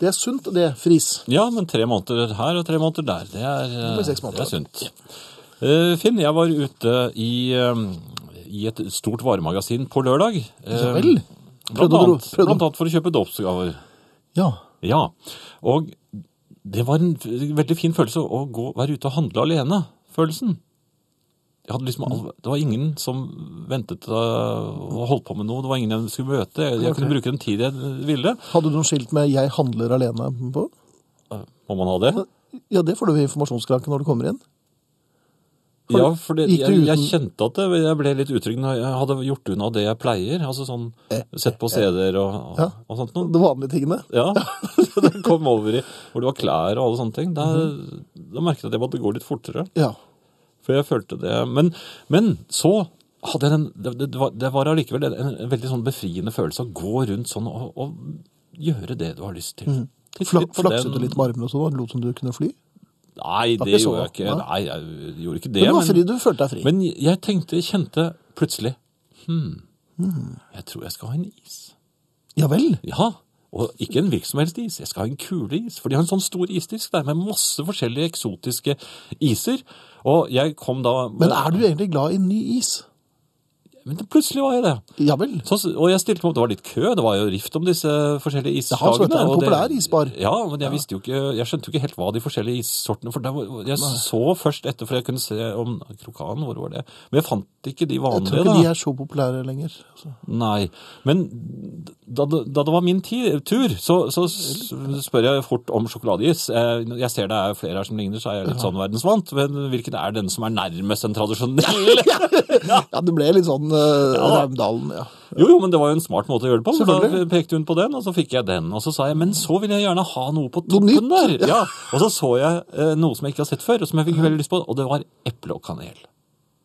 Speaker 2: Det er sunt, det. Fris.
Speaker 1: Ja, men tre måneder her og tre måneder der, det er, eh,
Speaker 2: blir seks måneder.
Speaker 1: det er sunt. Eh, Finn, jeg var ute i, eh, i et stort varemagasin på lørdag. eh,
Speaker 2: Ja vel. Prøvde
Speaker 1: Blant
Speaker 2: å dro-
Speaker 1: annet,
Speaker 2: prøvde å-
Speaker 1: blant annet for å kjøpe dåpsgaver.
Speaker 2: Ja.
Speaker 1: Ja, og det var en f- veldig fin følelse å gå, være ute og handle alene, følelsen. Jeg hadde liksom, all- det var ingen som ventet eh, og holdt på med noe, det var ingen jeg skulle møte. Jeg, jeg kunne
Speaker 2: Ah, Ok.
Speaker 1: bruke den tid jeg ville.
Speaker 2: Hadde du noe skilt med 'jeg handler alene' på?
Speaker 1: Må man ha det?
Speaker 2: Ja, det får du ved informasjonskranken når du kommer inn. For-
Speaker 1: Ja, for det,
Speaker 2: gikk du
Speaker 1: jeg, jeg
Speaker 2: uten-
Speaker 1: kjente at det, jeg ble litt utrygg når jeg hadde gjort unna det jeg pleier. Altså sånn sett på CD-er og, og,
Speaker 2: Eh, Ja.
Speaker 1: og sånt noe.
Speaker 2: De vanlige tingene.
Speaker 1: Ja, det kom over i hvor det var klær og alle sånne ting. Da,
Speaker 2: Mhm.
Speaker 1: da merket jeg at jeg måtte gå litt fortere.
Speaker 2: Ja.
Speaker 1: For jeg følte det Men, men så hadde jeg den det, det, var- det var allikevel en, en veldig sånn befriende følelse å gå rundt sånn og, og gjøre det du har lyst til. Titt
Speaker 2: Fla
Speaker 1: litt på
Speaker 2: Mhm. flakset
Speaker 1: den-
Speaker 2: du litt med armene og sånn? da? Lot som du kunne fly?
Speaker 1: Nei,
Speaker 2: Var
Speaker 1: det
Speaker 2: ikke så-
Speaker 1: gjorde jeg ikke.
Speaker 2: nei.
Speaker 1: Nei, jeg gjorde ikke det.
Speaker 2: Men du var fri, du følte deg fri.
Speaker 1: Men jeg tenkte, kjente plutselig hmm, Jeg tror jeg skal ha en is.
Speaker 2: ja vel.
Speaker 1: Ja, og ikke en hvilken som helst is. Jeg skal ha en kuleis. For de har en sånn stor isdisk der med masse forskjellige eksotiske iser. Og jeg kom da
Speaker 2: Men er du egentlig glad i ny is?
Speaker 1: Men plutselig var jeg det.
Speaker 2: Ja vel.
Speaker 1: Så, og jeg stilte meg opp, det var litt kø, det var jo rift om disse forskjellige
Speaker 2: Det
Speaker 1: isslagene.
Speaker 2: har så vært en
Speaker 1: og det-
Speaker 2: populær isbar.
Speaker 1: Ja, men jeg visste jo ikke, jeg skjønte jo ikke helt hva de forskjellige issortene, for det var, jeg så først etter, for jeg kunne se om krokanen, hvor var det? Men jeg fant ikke de
Speaker 2: Jeg
Speaker 1: vanlige da.
Speaker 2: tror ikke de er så populære lenger. altså.
Speaker 1: Nei, men da, det- da det var min ti- tur, så, så s- spør jeg fort om sjokoladeis. Eh, Jeg ser det er flere her som ligner, så er jeg litt sånn verdensvant. Men hvilken er den som er nærmest en tradisjonell?
Speaker 2: Ja, det ble litt sånn uh, Raumdalen, ja.
Speaker 1: Jo, jo, men det var jo en smart måte å gjøre det på. Da
Speaker 2: Selvfølgelig.
Speaker 1: pekte hun på den, og så fikk jeg den. Og så sa jeg, men så vil jeg gjerne ha noe på
Speaker 2: Noe
Speaker 1: toppen der.
Speaker 2: nytt.
Speaker 1: Ja. Og så så jeg eh, noe som jeg ikke har sett før, og som jeg fikk veldig lyst på, og det var eple og kanel.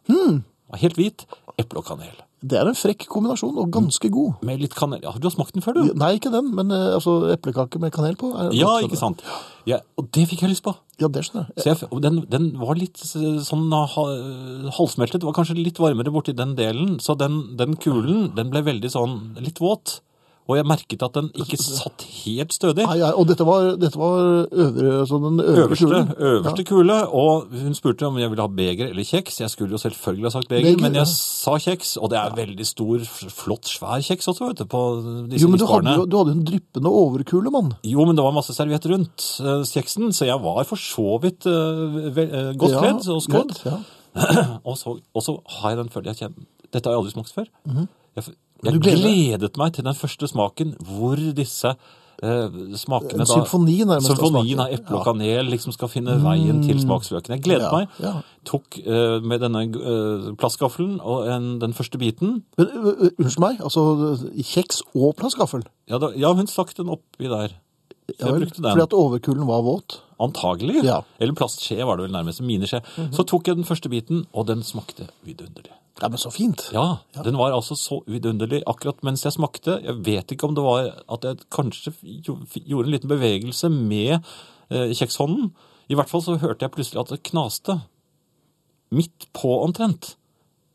Speaker 2: Hmm.
Speaker 1: Det var Helt hvit, eple og kanel.
Speaker 2: Det er en frekk kombinasjon, og ganske god.
Speaker 1: Med litt kanel. Ja, du har smakt den før, du.
Speaker 2: Nei, ikke den, men eh, altså, eplekake med kanel på. er- sånn-
Speaker 1: Ja, ikke sant. Ja, og det fikk jeg lyst på.
Speaker 2: Ja, det skjønner jeg.
Speaker 1: Så jeg, og den, den var litt eh, sånn ha, halvsmeltet. Det var kanskje litt varmere borti den delen, så den, den kulen den ble veldig sånn litt våt. Og jeg merket at den ikke satt helt stødig.
Speaker 2: Nei, ja, og dette var, dette var øvre, altså den øvre
Speaker 1: Øverste,
Speaker 2: kulen.
Speaker 1: øverste
Speaker 2: Ja.
Speaker 1: kule, og hun spurte om jeg ville ha beger eller kjeks. Jeg skulle jo selvfølgelig ha sagt beger,
Speaker 2: Beger,
Speaker 1: men
Speaker 2: ja.
Speaker 1: jeg sa kjeks, og det er veldig stor, flott, svær kjeks også, vet du, på disse
Speaker 2: Jo, men du hadde,
Speaker 1: isbarene.
Speaker 2: jo- du hadde jo en dryppende overkule, mann.
Speaker 1: Jo, men det var masse serviett rundt eh, kjeksen, så jeg var for så vidt eh, vel, eh, godt
Speaker 2: Ja,
Speaker 1: kledd og skådd.
Speaker 2: greit, ja.
Speaker 1: Og så, og så har jeg den følelsen jeg kjenner. Dette har jeg aldri smakt før. Jeg, jeg
Speaker 2: Mhm. Du gleder deg.
Speaker 1: gledet meg til den første smaken hvor disse eh, smakene
Speaker 2: En symfoni nærmest av
Speaker 1: Symfonien
Speaker 2: smaker.
Speaker 1: av eple og
Speaker 2: Ja. Mm.
Speaker 1: kanel liksom skal finne veien til smaksløkene. Jeg gledet
Speaker 2: Ja,
Speaker 1: meg.
Speaker 2: ja.
Speaker 1: Tok eh, med denne eh, plastgaffelen og en, den første biten.
Speaker 2: Men ø, ø, unnskyld meg, altså kjeks og plastgaffel?
Speaker 1: Ja, da, ja hun stakk den oppi der. Så
Speaker 2: Ja
Speaker 1: jeg
Speaker 2: vel,
Speaker 1: brukte den.
Speaker 2: Fordi at overkulen var våt?
Speaker 1: Antagelig.
Speaker 2: Ja.
Speaker 1: Eller plastskje var det vel nærmest. Miniskje. Så tok jeg den første biten, og den smakte vidunderlig.
Speaker 2: Ja, men så fint.
Speaker 1: Ja, den var altså så vidunderlig akkurat mens jeg smakte. Jeg vet ikke om det var at jeg kanskje jo- f- gjorde en liten bevegelse med eh, kjekshånden. I hvert fall så hørte jeg plutselig at det knaste. Midt på omtrent.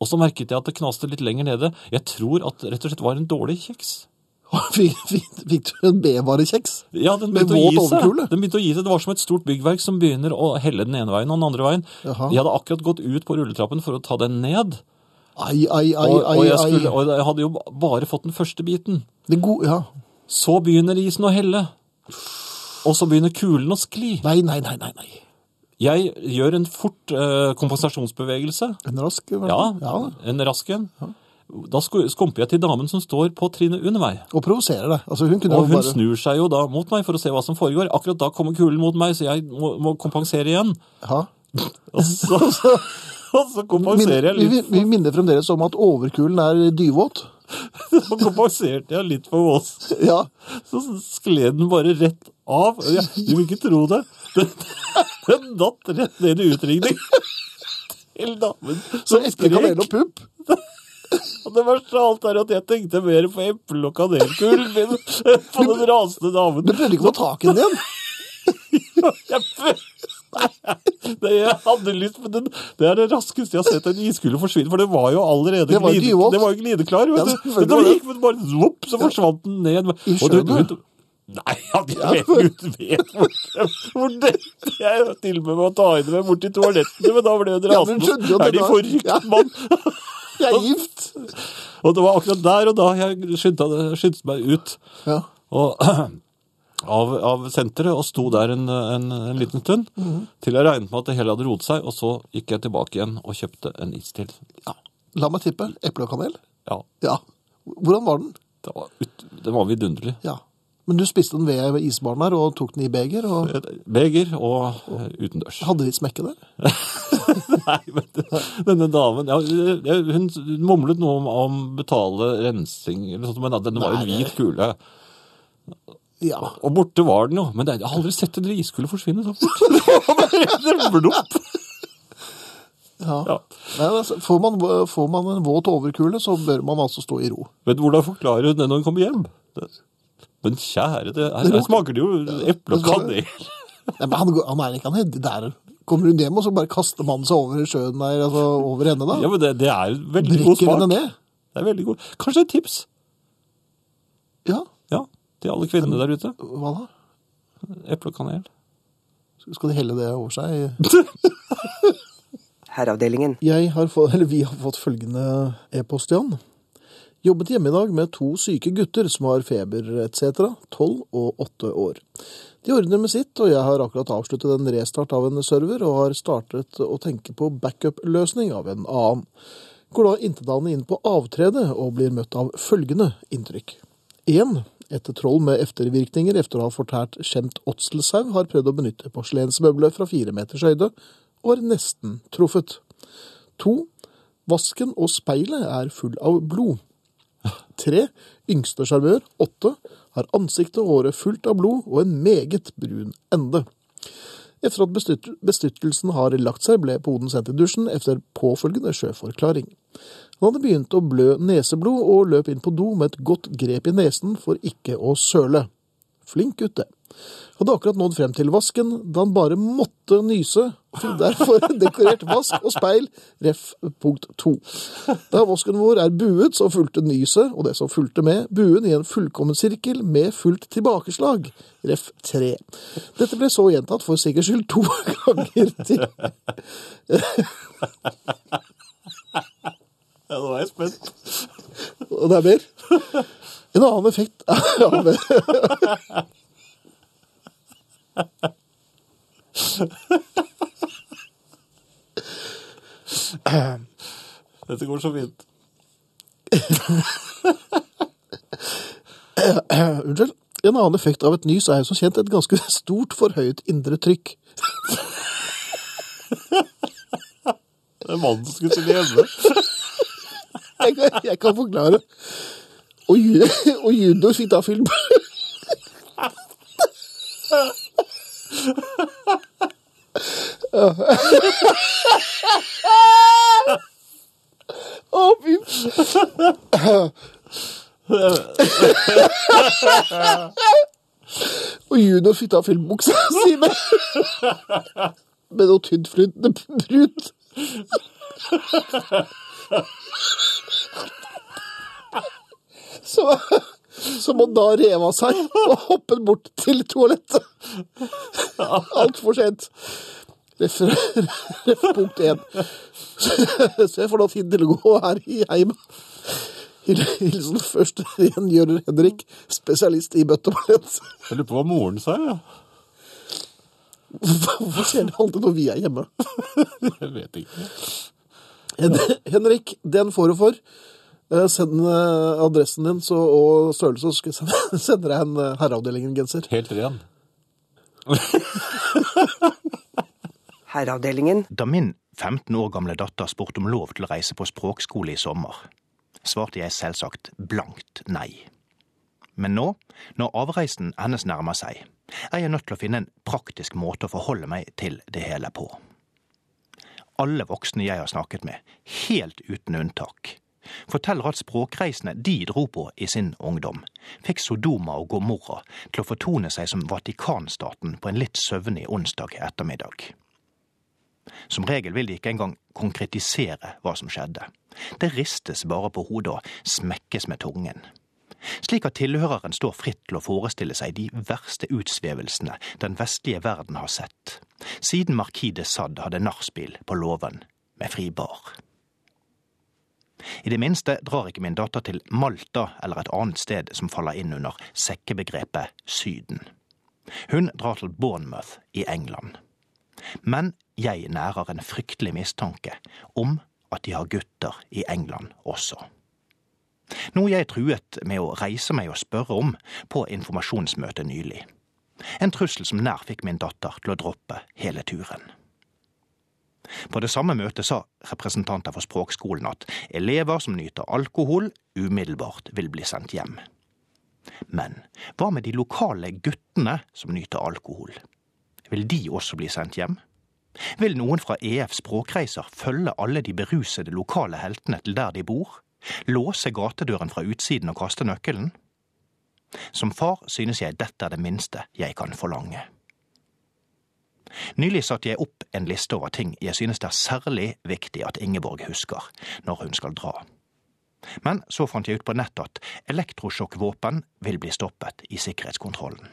Speaker 1: Og så merket jeg at det knaste litt lenger nede. Jeg tror at det rett og slett var en dårlig kjeks.
Speaker 2: Fikk, fikk, fikk du en bevarekjeks?
Speaker 1: Ja, den
Speaker 2: Med
Speaker 1: begynte, å gi
Speaker 2: våt
Speaker 1: seg.
Speaker 2: overkule?
Speaker 1: den begynte å gi seg. Det var som et stort byggverk som begynner å helle den ene veien og den andre veien.
Speaker 2: Jaha.
Speaker 1: Jeg hadde akkurat gått ut på rulletrappen for å ta den ned.
Speaker 2: Ai, ai, ai,
Speaker 1: Og,
Speaker 2: ai.
Speaker 1: og, jeg, skulle,
Speaker 2: ai.
Speaker 1: og jeg hadde jo bare fått den første biten.
Speaker 2: Det gode, ja.
Speaker 1: Så begynner isen å helle. Og så begynner kulen å skli.
Speaker 2: Nei, nei, nei, nei. nei.
Speaker 1: Jeg gjør en fort eh, kompensasjonsbevegelse.
Speaker 2: En rask i hvert
Speaker 1: Ja,
Speaker 2: fall. Ja.
Speaker 1: en rask en. Da sku- skumper jeg til damen som står på trinnet under meg.
Speaker 2: Og provoserer det. Altså, hun kunne
Speaker 1: Og
Speaker 2: jo
Speaker 1: hun
Speaker 2: bare...
Speaker 1: snur seg jo da mot meg for å se hva som foregår. Akkurat da kommer kulen mot meg, så jeg må, må kompensere igjen.
Speaker 2: Ja.
Speaker 1: Og så, og så kompenserer jeg
Speaker 2: vi, vi,
Speaker 1: litt.
Speaker 2: vi minner fremdeles om at overkulen er dyvåt.
Speaker 1: Så kompenserte jeg litt for Vås.
Speaker 2: Ja.
Speaker 1: Så skled den bare rett av. Jeg, du vil ikke tro det. Den, den datt rett ned i utringning. Til damen
Speaker 2: Så
Speaker 1: som
Speaker 2: eple, kanel og
Speaker 1: skrek.
Speaker 2: pupp.
Speaker 1: Og det verste av alt er at jeg tenkte mer på eple- og kanelkulen min enn på den rasende damen.
Speaker 2: Du prøvde ikke å få tak i den igjen.
Speaker 1: Jeg prøv- Nei, jeg hadde lyst, men den, det er det raskeste jeg har sett en iskule forsvinne. For det var jo allerede
Speaker 2: Det var jo
Speaker 1: glide-
Speaker 2: dyvått.
Speaker 1: det var jo glideklar.
Speaker 2: Ja,
Speaker 1: Vet du.
Speaker 2: selvfølgelig
Speaker 1: Men
Speaker 2: var
Speaker 1: det
Speaker 2: det.
Speaker 1: gikk men bare zopp, så forsvant den ned.
Speaker 2: I
Speaker 1: Og du-
Speaker 2: sjøen, da?
Speaker 1: du- Nei, ja, de vet, Gud vet hvor, hvor det Jeg til og med med å ta henne med bort til toalettene, men da ble hun
Speaker 2: Ja, men
Speaker 1: rasende.
Speaker 2: hun skjønte jo at
Speaker 1: er de
Speaker 2: det
Speaker 1: forrykt,
Speaker 2: var- Ja.
Speaker 1: mann?
Speaker 2: Jeg er gift.
Speaker 1: Og det var akkurat der og da jeg skyndte, skyndte meg ut
Speaker 2: Ja.
Speaker 1: og, av, av senteret og sto der en, en, en liten stund. Til jeg regnet med at det hele hadde roet seg, og så gikk jeg tilbake igjen og kjøpte en is til.
Speaker 2: ja. La meg tippe. Eple og kanel?
Speaker 1: Ja,
Speaker 2: Ja. Hvordan var den?
Speaker 1: det var, ut, det var vidunderlig.
Speaker 2: Ja. Men du spiste den ved isbaren her og tok den i beger, og
Speaker 1: Et Beger og eh, utendørs.
Speaker 2: hadde litt smekke der?
Speaker 1: Nei, men det- denne damen ja, jeg- Hun mumlet noe om, om betale rensing, eller sånt, men ja, den var jo en hvit kule.
Speaker 2: Ja.
Speaker 1: Og borte var den jo. Men det, jeg har aldri sett en iskule forsvinne så fort. Det var bare en blopp.
Speaker 2: ja.
Speaker 1: Ja.
Speaker 2: Nei, altså, får, man, får man en våt overkule, så bør man altså stå i ro.
Speaker 1: Men hvordan forklarer hun det når hun kommer hjem? Det, men kjære, det, her, her
Speaker 2: lukter-
Speaker 1: smaker det jo eple
Speaker 2: det
Speaker 1: og
Speaker 2: smaker-
Speaker 1: kanel.
Speaker 2: Nei, men han, går- han er ikke han er der. Kommer hun hjem, og så bare kaster mannen seg over sjøen der, altså over henne, da?
Speaker 1: Ja, men det, det er en veldig god
Speaker 2: Drikker
Speaker 1: smak.
Speaker 2: henne ned?
Speaker 1: Det er veldig god. Kanskje et tips
Speaker 2: Ja.
Speaker 1: ja, til alle kvinnene der ute?
Speaker 2: Hva da?
Speaker 1: Eple og kanel.
Speaker 2: Skal de helle det over seg?
Speaker 5: Herreavdelingen.
Speaker 2: Jeg har fått, eller vi har fått følgende e-post, Jan. Jobbet hjemme i dag med to syke gutter som har feber etc., 12 og 8 år. De ordner med sitt, og jeg har akkurat avsluttet en restart av en server og har startet å tenke på backup-løsning av en annen. Går da intetanende inn på avtredet og blir møtt av følgende inntrykk. 1. Et troll med eftervirkninger etter å ha fortært skjemt åtselsau har prøvd å benytte porselensmøblet fra fire meters høyde, og har nesten truffet. 2. Vasken og speilet er full av blod. 3. Yngste sjarmør, 8, har ansiktet og håret fullt av blod og en meget brun ende. Etter at bestyrt- bestyrtelsen har lagt seg, ble poden sendt i dusjen etter påfølgende sjøforklaring. Han hadde begynt å blø neseblod og løp inn på do med et godt grep i nesen for ikke å søle. Flink gutt, det. Hadde akkurat nådd frem til vasken da han bare måtte nyse. Fikk derfor dekorert vask og speil, ref. punkt to. Da vasken vår er buet, så fulgte nyset, og det som fulgte med, buen i en fullkommen sirkel med fullt tilbakeslag, ref. tre. Dette ble så gjentatt for sikkerhets skyld to ganger til.
Speaker 1: Ja, nå er jeg spent.
Speaker 2: Og det er mer. En annen effekt av
Speaker 1: Dette går så fint.
Speaker 2: Unnskyld. En annen effekt av et nys er jo som kjent et ganske stort for høyt indre trykk.
Speaker 1: Det er mannen som skulle stille hjemme.
Speaker 2: Jeg kan, jeg kan forklare. Og, ju, og junior fikk da film. Å, fy f- Og junior fikk da filmbuksa si med, med noe tynnflytende brunt. som, som han da rev av seg og hoppet bort til toalettet. Altfor sent. Ref, ref punkt én. Så jeg får da tid til å gå her i heimen. Hil- Hilsen først rengjører Henrik, spesialist i bøtteballett.
Speaker 1: Jeg lurer på hva moren sa, ja.
Speaker 2: Hvorfor skjer det alltid når vi er hjemme?
Speaker 1: Jeg vet ikke.
Speaker 2: Hen Henrik, den får du for. Eh, Send eh, adressen din så, og størrelse, så skal jeg sende, sende deg en eh, herreavdelingen-genser.
Speaker 1: Helt ren.
Speaker 5: Herreavdelingen.
Speaker 6: Da min 15 år gamle datter spurte om lov til å reise på språkskole i sommer, svarte jeg selvsagt blankt nei. Men nå, når avreisen hennes nærmer seg, er jeg nødt til å finne en praktisk måte å forholde meg til det hele på. Alle voksne jeg har snakket med, helt uten unntak, forteller at språkreisene de dro på i sin ungdom, fikk Sodoma og Gomorra til å fortone seg som Vatikanstaten på en litt søvnig onsdag ettermiddag. Som regel vil de ikke engang konkretisere hva som skjedde. Det ristes bare på hodet og smekkes med tungen. Slik at tilhøreren står fritt til å forestille seg de verste utsvevelsene den vestlige verden har sett, siden markis de Sade hadde nachspiel på låven med fri bar. I det minste drar ikke min datter til Malta eller et annet sted som faller inn under sekkebegrepet Syden. Hun drar til Bournemouth i England. Men jeg nærer en fryktelig mistanke om at de har gutter i England også. Noe jeg truet med å reise meg og spørre om på informasjonsmøtet nylig. En trussel som nær fikk min datter til å droppe hele turen. På det samme møtet sa representanter for språkskolen at elever som nyter alkohol, umiddelbart vil bli sendt hjem. Men hva med de lokale guttene som nyter alkohol? Vil de også bli sendt hjem? Vil noen fra EF Språkreiser følge alle de berusede lokale heltene til der de bor? Låse gatedøren fra utsiden og kaste nøkkelen? Som far synes jeg dette er det minste jeg kan forlange. Nylig satte jeg opp en liste over ting jeg synes det er særlig viktig at Ingeborg husker når hun skal dra. Men så fant jeg ut på nettet at elektrosjokkvåpen vil bli stoppet i sikkerhetskontrollen.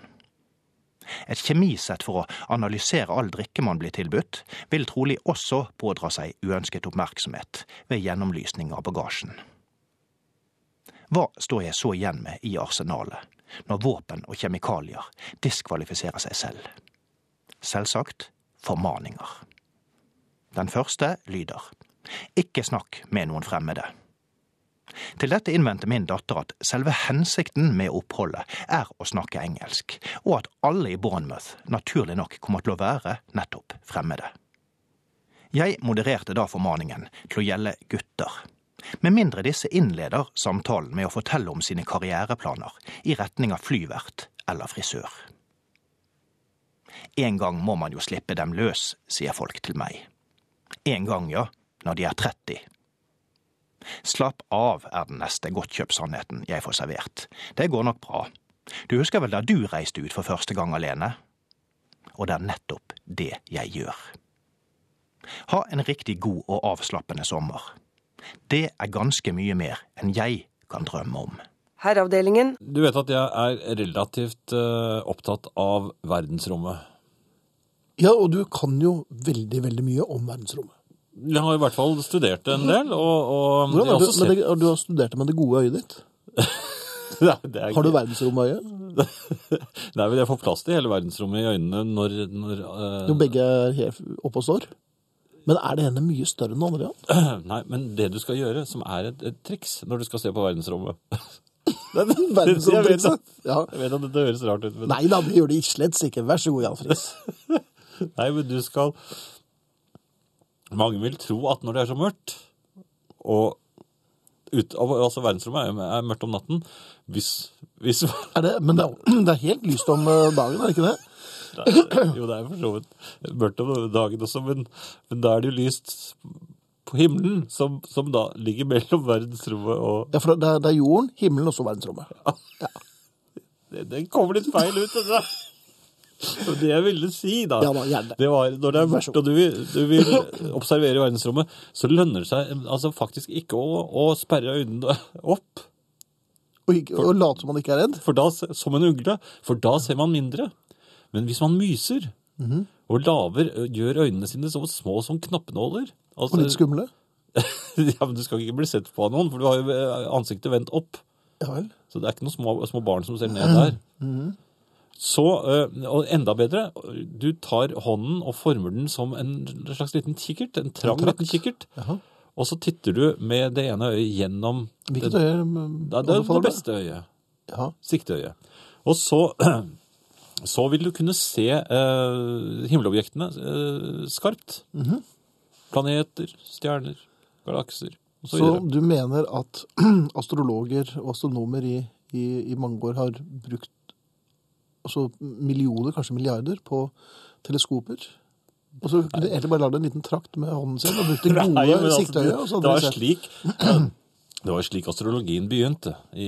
Speaker 6: Et kjemisett for å analysere all drikke man blir tilbudt, vil trolig også pådra seg uønsket oppmerksomhet ved gjennomlysning av bagasjen. Hva står jeg så igjen med i arsenalet, når våpen og kjemikalier diskvalifiserer seg selv? Selvsagt formaninger. Den første lyder Ikke snakk med noen fremmede. Til dette innvendte min datter at selve hensikten med oppholdet er å snakke engelsk, og at alle i Bournemouth naturlig nok kommer til å være nettopp fremmede. Jeg modererte da formaningen til å gjelde gutter, med mindre disse innleder samtalen med å fortelle om sine karriereplaner i retning av flyvert eller frisør. En gang må man jo slippe dem løs, sier folk til meg. En gang, ja, når de er 30. Slapp av er den neste godtkjøpssannheten jeg får servert. Det går nok bra. Du husker vel da du reiste ut for første gang alene? Og det er nettopp det jeg gjør. Ha en riktig god og avslappende sommer. Det er ganske mye mer enn jeg kan drømme om.
Speaker 5: Herreavdelingen.
Speaker 1: Du vet at jeg er relativt eh, opptatt av verdensrommet.
Speaker 2: Ja, og du kan jo veldig, veldig mye om verdensrommet.
Speaker 1: Jeg har i hvert fall studert en del, og, og
Speaker 2: Hvordan
Speaker 1: jeg har
Speaker 2: har du,
Speaker 1: Mm, også
Speaker 2: med
Speaker 1: sett
Speaker 2: det, har du har studert det med det gode øyet ditt?
Speaker 1: Nei, det er
Speaker 2: Har du
Speaker 1: ikke-
Speaker 2: verdensromøyet?
Speaker 1: Nei, men jeg får plass til hele verdensrommet i øynene når, når eh,
Speaker 2: Når begge er helt oppe og står? Men er det ene mye større enn det andre? Ja?
Speaker 1: eh, Nei, men det du skal gjøre, som er et, et triks når du skal se på verdensrommet liksom.
Speaker 2: Verdensromtrikset? Ja.
Speaker 1: Jeg vet at dette høres rart ut, men,
Speaker 2: Nei da, det gjør det slett ikke. Vær så god, Jan Friis.
Speaker 1: nei, men du skal Mange vil tro at når det er så mørkt og ut, Altså, verdensrommet er, er mørkt om natten. Hvis, hvis
Speaker 2: Er det, men det er, det er helt lyst om eh, dagen, er det ikke det?
Speaker 1: Jo, det er for så vidt mørkt om dagen også, men, men da er det jo lyst på himmelen, som, som da ligger mellom verdensrommet og
Speaker 2: Ja, for det er, det er jorden, himmelen og så verdensrommet.
Speaker 1: Det, det kommer litt feil ut, det der. Og det jeg ville si, da,
Speaker 2: Ja da, gjerne.
Speaker 1: det var når det er mørkt og du vil, du vil observere verdensrommet, så lønner det seg altså, faktisk ikke å, å sperre øynene opp
Speaker 2: og, ikke, og late som man ikke er redd.
Speaker 1: For da, se- som en ugle, for da ser man mindre. Men hvis man myser
Speaker 2: Mhm.
Speaker 1: og laver, ø, gjør øynene sine så små som knappenåler altså,
Speaker 2: Og litt skumle.
Speaker 1: ja, men Du skal ikke bli sett på av noen, for du har jo ø, ansiktet vendt opp.
Speaker 2: Ja vel.
Speaker 1: Så det er ikke noen små, små barn som ser ned der. Så, ø, og enda bedre, du tar hånden og former den som en slags liten kikkert, en trang
Speaker 2: En trakt.
Speaker 1: liten kikkert.
Speaker 2: Jaha.
Speaker 1: Og så titter du med det ene øyet gjennom
Speaker 2: Hvilket
Speaker 1: det,
Speaker 2: øye mm,
Speaker 1: det, det, det beste øyet.
Speaker 2: Ja.
Speaker 1: Sikteøyet. Og så, så vil du kunne se eh, himmelobjektene eh, skarpt.
Speaker 2: Mhm.
Speaker 1: Planeter, stjerner, galakser og så
Speaker 2: Så
Speaker 1: videre.
Speaker 2: du mener at astrologer og astronomer i, i, i mange år har brukt altså millioner, kanskje milliarder, på teleskoper? Og så kunne de egentlig bare lagd en liten trakt med hånden sin og brukt det gode
Speaker 1: Nei, men altså,
Speaker 2: sikteøyet. og så
Speaker 1: det,
Speaker 2: hadde
Speaker 1: var
Speaker 2: vi sett.
Speaker 1: slik, det var slik astrologien begynte i,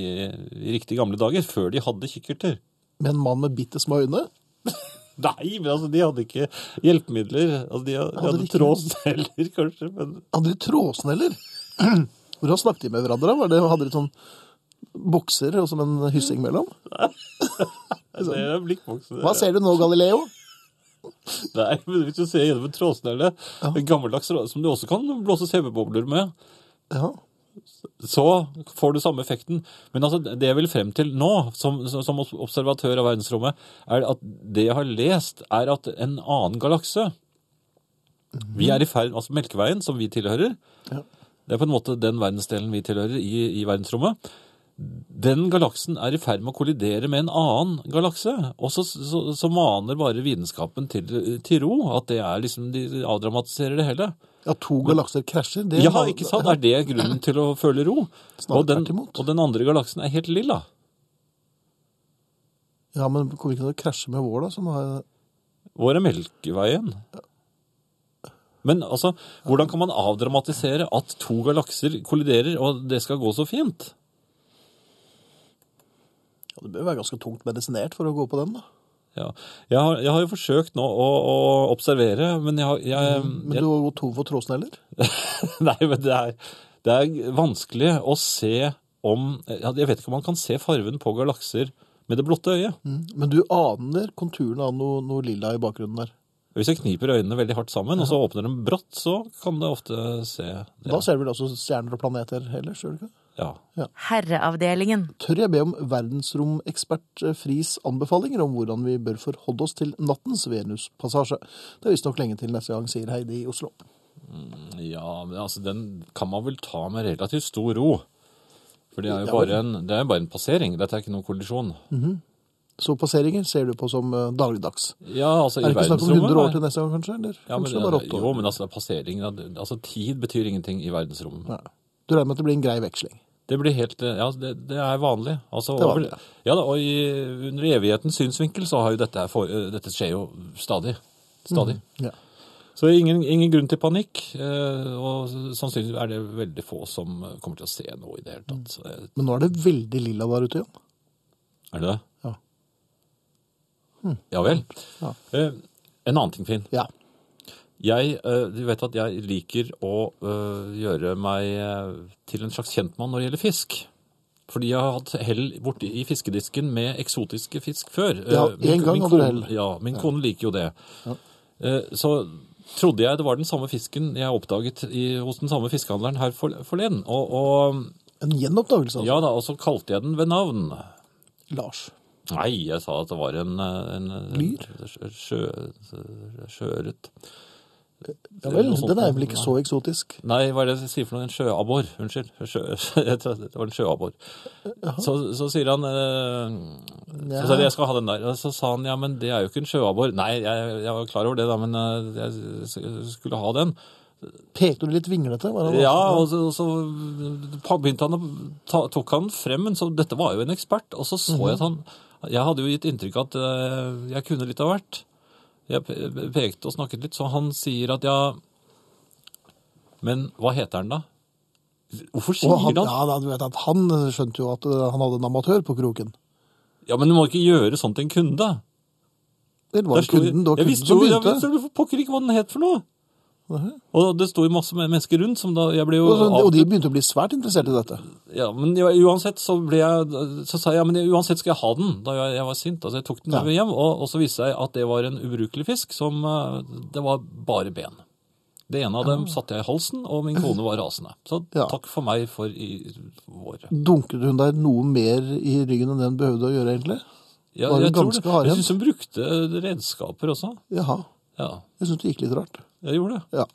Speaker 1: i riktig gamle dager, før de hadde kikkerter.
Speaker 2: Med en mann med bitte små øyne?
Speaker 1: Nei, men altså, de hadde ikke hjelpemidler. Altså, de, hadde- de
Speaker 2: Hadde de
Speaker 1: hadde
Speaker 2: ikke?
Speaker 1: trådsneller, kanskje, men
Speaker 2: Hadde de trådsneller? Hvordan snakket de med hverandre? Var det, hadde de sånn bokser og som en hyssing mellom?
Speaker 1: det er blikkboksen.
Speaker 2: sånn. Hva ser du nå, Galileo?
Speaker 1: Nei, men hvis du ser gjennom en trådsnelle, en gammeldags tråd, som du også kan blåse CV-bobler med,
Speaker 2: Ja,
Speaker 1: så får du samme effekten. Men altså, det jeg vil frem til nå, som, som observatør av verdensrommet, er at det jeg har lest, er at en annen galakse Vi er i ferd Altså Melkeveien, som vi tilhører,
Speaker 2: Ja.
Speaker 1: det er på en måte den verdensdelen vi tilhører i, i verdensrommet. Den galaksen er i ferd med å kollidere med en annen galakse. Og så, så, så maner bare vitenskapen til, til ro. At det er liksom De avdramatiserer det hele.
Speaker 2: ja to galakser krasjer. det-
Speaker 1: Ja, ikke sant? Er det grunnen til å føle ro?
Speaker 2: Snarere
Speaker 1: og, den,
Speaker 2: tvert imot.
Speaker 1: og den andre galaksen er helt lilla.
Speaker 2: Ja, men kommer ikke til å krasje med vår, da? Som har
Speaker 1: Hvor er Melkeveien? Men altså, hvordan kan man avdramatisere at to galakser kolliderer, og det skal gå så fint?
Speaker 2: Ja, det bør være ganske tungt medisinert for å gå på den, da.
Speaker 1: Ja. Jeg, har, jeg har jo forsøkt nå å, å observere, men jeg, har- jeg,
Speaker 2: Mm, Men
Speaker 1: jeg
Speaker 2: du har gått tom for trådsneller?
Speaker 1: Nei, men det er, det er vanskelig å se om ja, Jeg vet ikke om man kan se farven på galakser med det blotte øyet.
Speaker 2: Mm. Men du aner konturene av noe, noe lilla i bakgrunnen der.
Speaker 1: Hvis jeg kniper øynene veldig hardt sammen, og så åpner dem brått, så kan det ofte se det.
Speaker 2: Da ser du vel altså stjerner og planeter ellers, gjør du ikke?
Speaker 1: Ja.
Speaker 3: Herreavdelingen.
Speaker 2: Tør jeg be om verdensromekspert eh, Friis anbefalinger om hvordan vi bør forholde oss til nattens Venuspassasje? Det er visstnok lenge til neste gang, sier Heidi i Oslo.
Speaker 1: ja, men altså, den kan man vel ta med relativt stor ro. For det er jo
Speaker 2: Ja, Mm.
Speaker 1: bare en, det er jo bare en passering. Dette er ikke noen kollisjon.
Speaker 2: Så passeringer ser du på som eh, dagligdags.
Speaker 1: Ja, altså
Speaker 2: Er
Speaker 1: i
Speaker 2: det ikke snakk om 100 år
Speaker 1: verdensrommet
Speaker 2: til neste gang, kanskje?
Speaker 1: ja,
Speaker 2: Eller
Speaker 1: men,
Speaker 2: kanskje det er bare åtte
Speaker 1: jo,
Speaker 2: år?
Speaker 1: men altså passeringen av- Altså tid betyr ingenting i verdensrommet.
Speaker 2: Ja. Du regner med at det blir en grei veksling?
Speaker 1: Det blir helt eh, Ja, det, det er vanlig. Altså,
Speaker 2: Det er vanlig,
Speaker 1: over, ja da, og i, under evighetens synsvinkel så har jo dette her for, eh, Dette skjer jo stadig. Stadig.
Speaker 2: Ja.
Speaker 1: Så ingen, ingen grunn til panikk. eh, Og sannsynligvis er det veldig få som kommer til å se noe i det hele tatt. Så det-
Speaker 2: Men nå er det veldig lilla der ute igjen.
Speaker 1: Er det det?
Speaker 2: Ja.
Speaker 1: Ja vel.
Speaker 2: Ja.
Speaker 1: Eh, En annen ting, Finn.
Speaker 2: Ja.
Speaker 1: Jeg, eh, du vet at jeg liker å eh, gjøre meg eh, til en slags kjentmann når det gjelder fisk. Fordi jeg har hatt hell borti i fiskedisken med eksotiske fisk før. Eh,
Speaker 2: Ja,
Speaker 1: min-
Speaker 2: en gang
Speaker 1: min
Speaker 2: hadde du
Speaker 1: kone-
Speaker 2: hell.
Speaker 1: Ja, min kone liker jo det. Eh, Så trodde jeg det var den samme fisken jeg oppdaget i, hos den samme fiskehandleren her for, forleden. Og, og
Speaker 2: En gjenoppdagelse, altså.
Speaker 1: ja da, og så kalte jeg den ved navn.
Speaker 2: Lars.
Speaker 1: Nei, jeg sa at det var en, eh, en eh,
Speaker 2: Lyr?
Speaker 1: Sjø, sjøret.
Speaker 2: Ja vel,
Speaker 1: Noe sånt,
Speaker 2: den er
Speaker 1: ja.
Speaker 2: vel ikke så eksotisk.
Speaker 1: Nei, hva er det jeg sier for noe? En sjøabbor. Unnskyld. Sjø, jeg tror det var en sjøabbor. Så, så sier han eh,
Speaker 2: Ja.
Speaker 1: Så sa jeg, jeg skal ha den der. Og så sa han ja, men det er jo ikke en sjøabbor. Nei, jeg, jeg var klar over det, da, men eh, jeg skulle ha den.
Speaker 2: Pekte du litt vinglete? Var det
Speaker 1: Ja, og så, og så begynte han å ta, tok han frem, men så, dette var jo en ekspert. Og så så jeg
Speaker 2: Mhm.
Speaker 1: at han Jeg hadde jo gitt inntrykk av at eh, jeg kunne litt av hvert. Jeg pe- pekte og snakket litt, så han sier at ja Men hva heter han da? Hvorfor sier
Speaker 2: og
Speaker 1: han,
Speaker 2: han, ja, da, du vet at han skjønte jo at eh, han hadde en amatør på kroken.
Speaker 1: Ja, men du må ikke gjøre sånn til en kunde.
Speaker 2: Eller var
Speaker 1: Der
Speaker 2: det
Speaker 1: sto-
Speaker 2: kunden? Det var
Speaker 1: jeg
Speaker 2: kunden
Speaker 1: visste jo
Speaker 2: som
Speaker 1: jeg
Speaker 2: begynte.
Speaker 1: visste jo pokker ikke hva den het for noe! Og det sto jo masse men- mennesker rundt, som da jeg ble jo
Speaker 2: Og, så- og
Speaker 1: av-
Speaker 2: de begynte å bli svært interessert i dette.
Speaker 1: Ja, men jeg- uansett så ble jeg Så sa jeg ja, men uansett skal jeg ha den, da jeg, jeg var sint. Altså jeg tok den
Speaker 2: Ja.
Speaker 1: med hjem, og, og så viste jeg at det var en ubrukelig fisk som eh, Det var bare ben. Det ene av dem satte jeg i halsen, og min kone var rasende. Så
Speaker 2: Ah. Ja.
Speaker 1: takk for meg for i vår.
Speaker 2: Dunket hun deg noe mer i ryggen enn det hun behøvde å gjøre, egentlig?
Speaker 1: Ja,
Speaker 2: Var det
Speaker 1: jeg tror
Speaker 2: ganske
Speaker 1: det.
Speaker 2: hardhendt?
Speaker 1: Jeg syns hun brukte redskaper også.
Speaker 2: Jaha.
Speaker 1: Ja,
Speaker 2: Jeg syns det gikk litt rart.
Speaker 1: jeg gjorde det.
Speaker 2: Ja.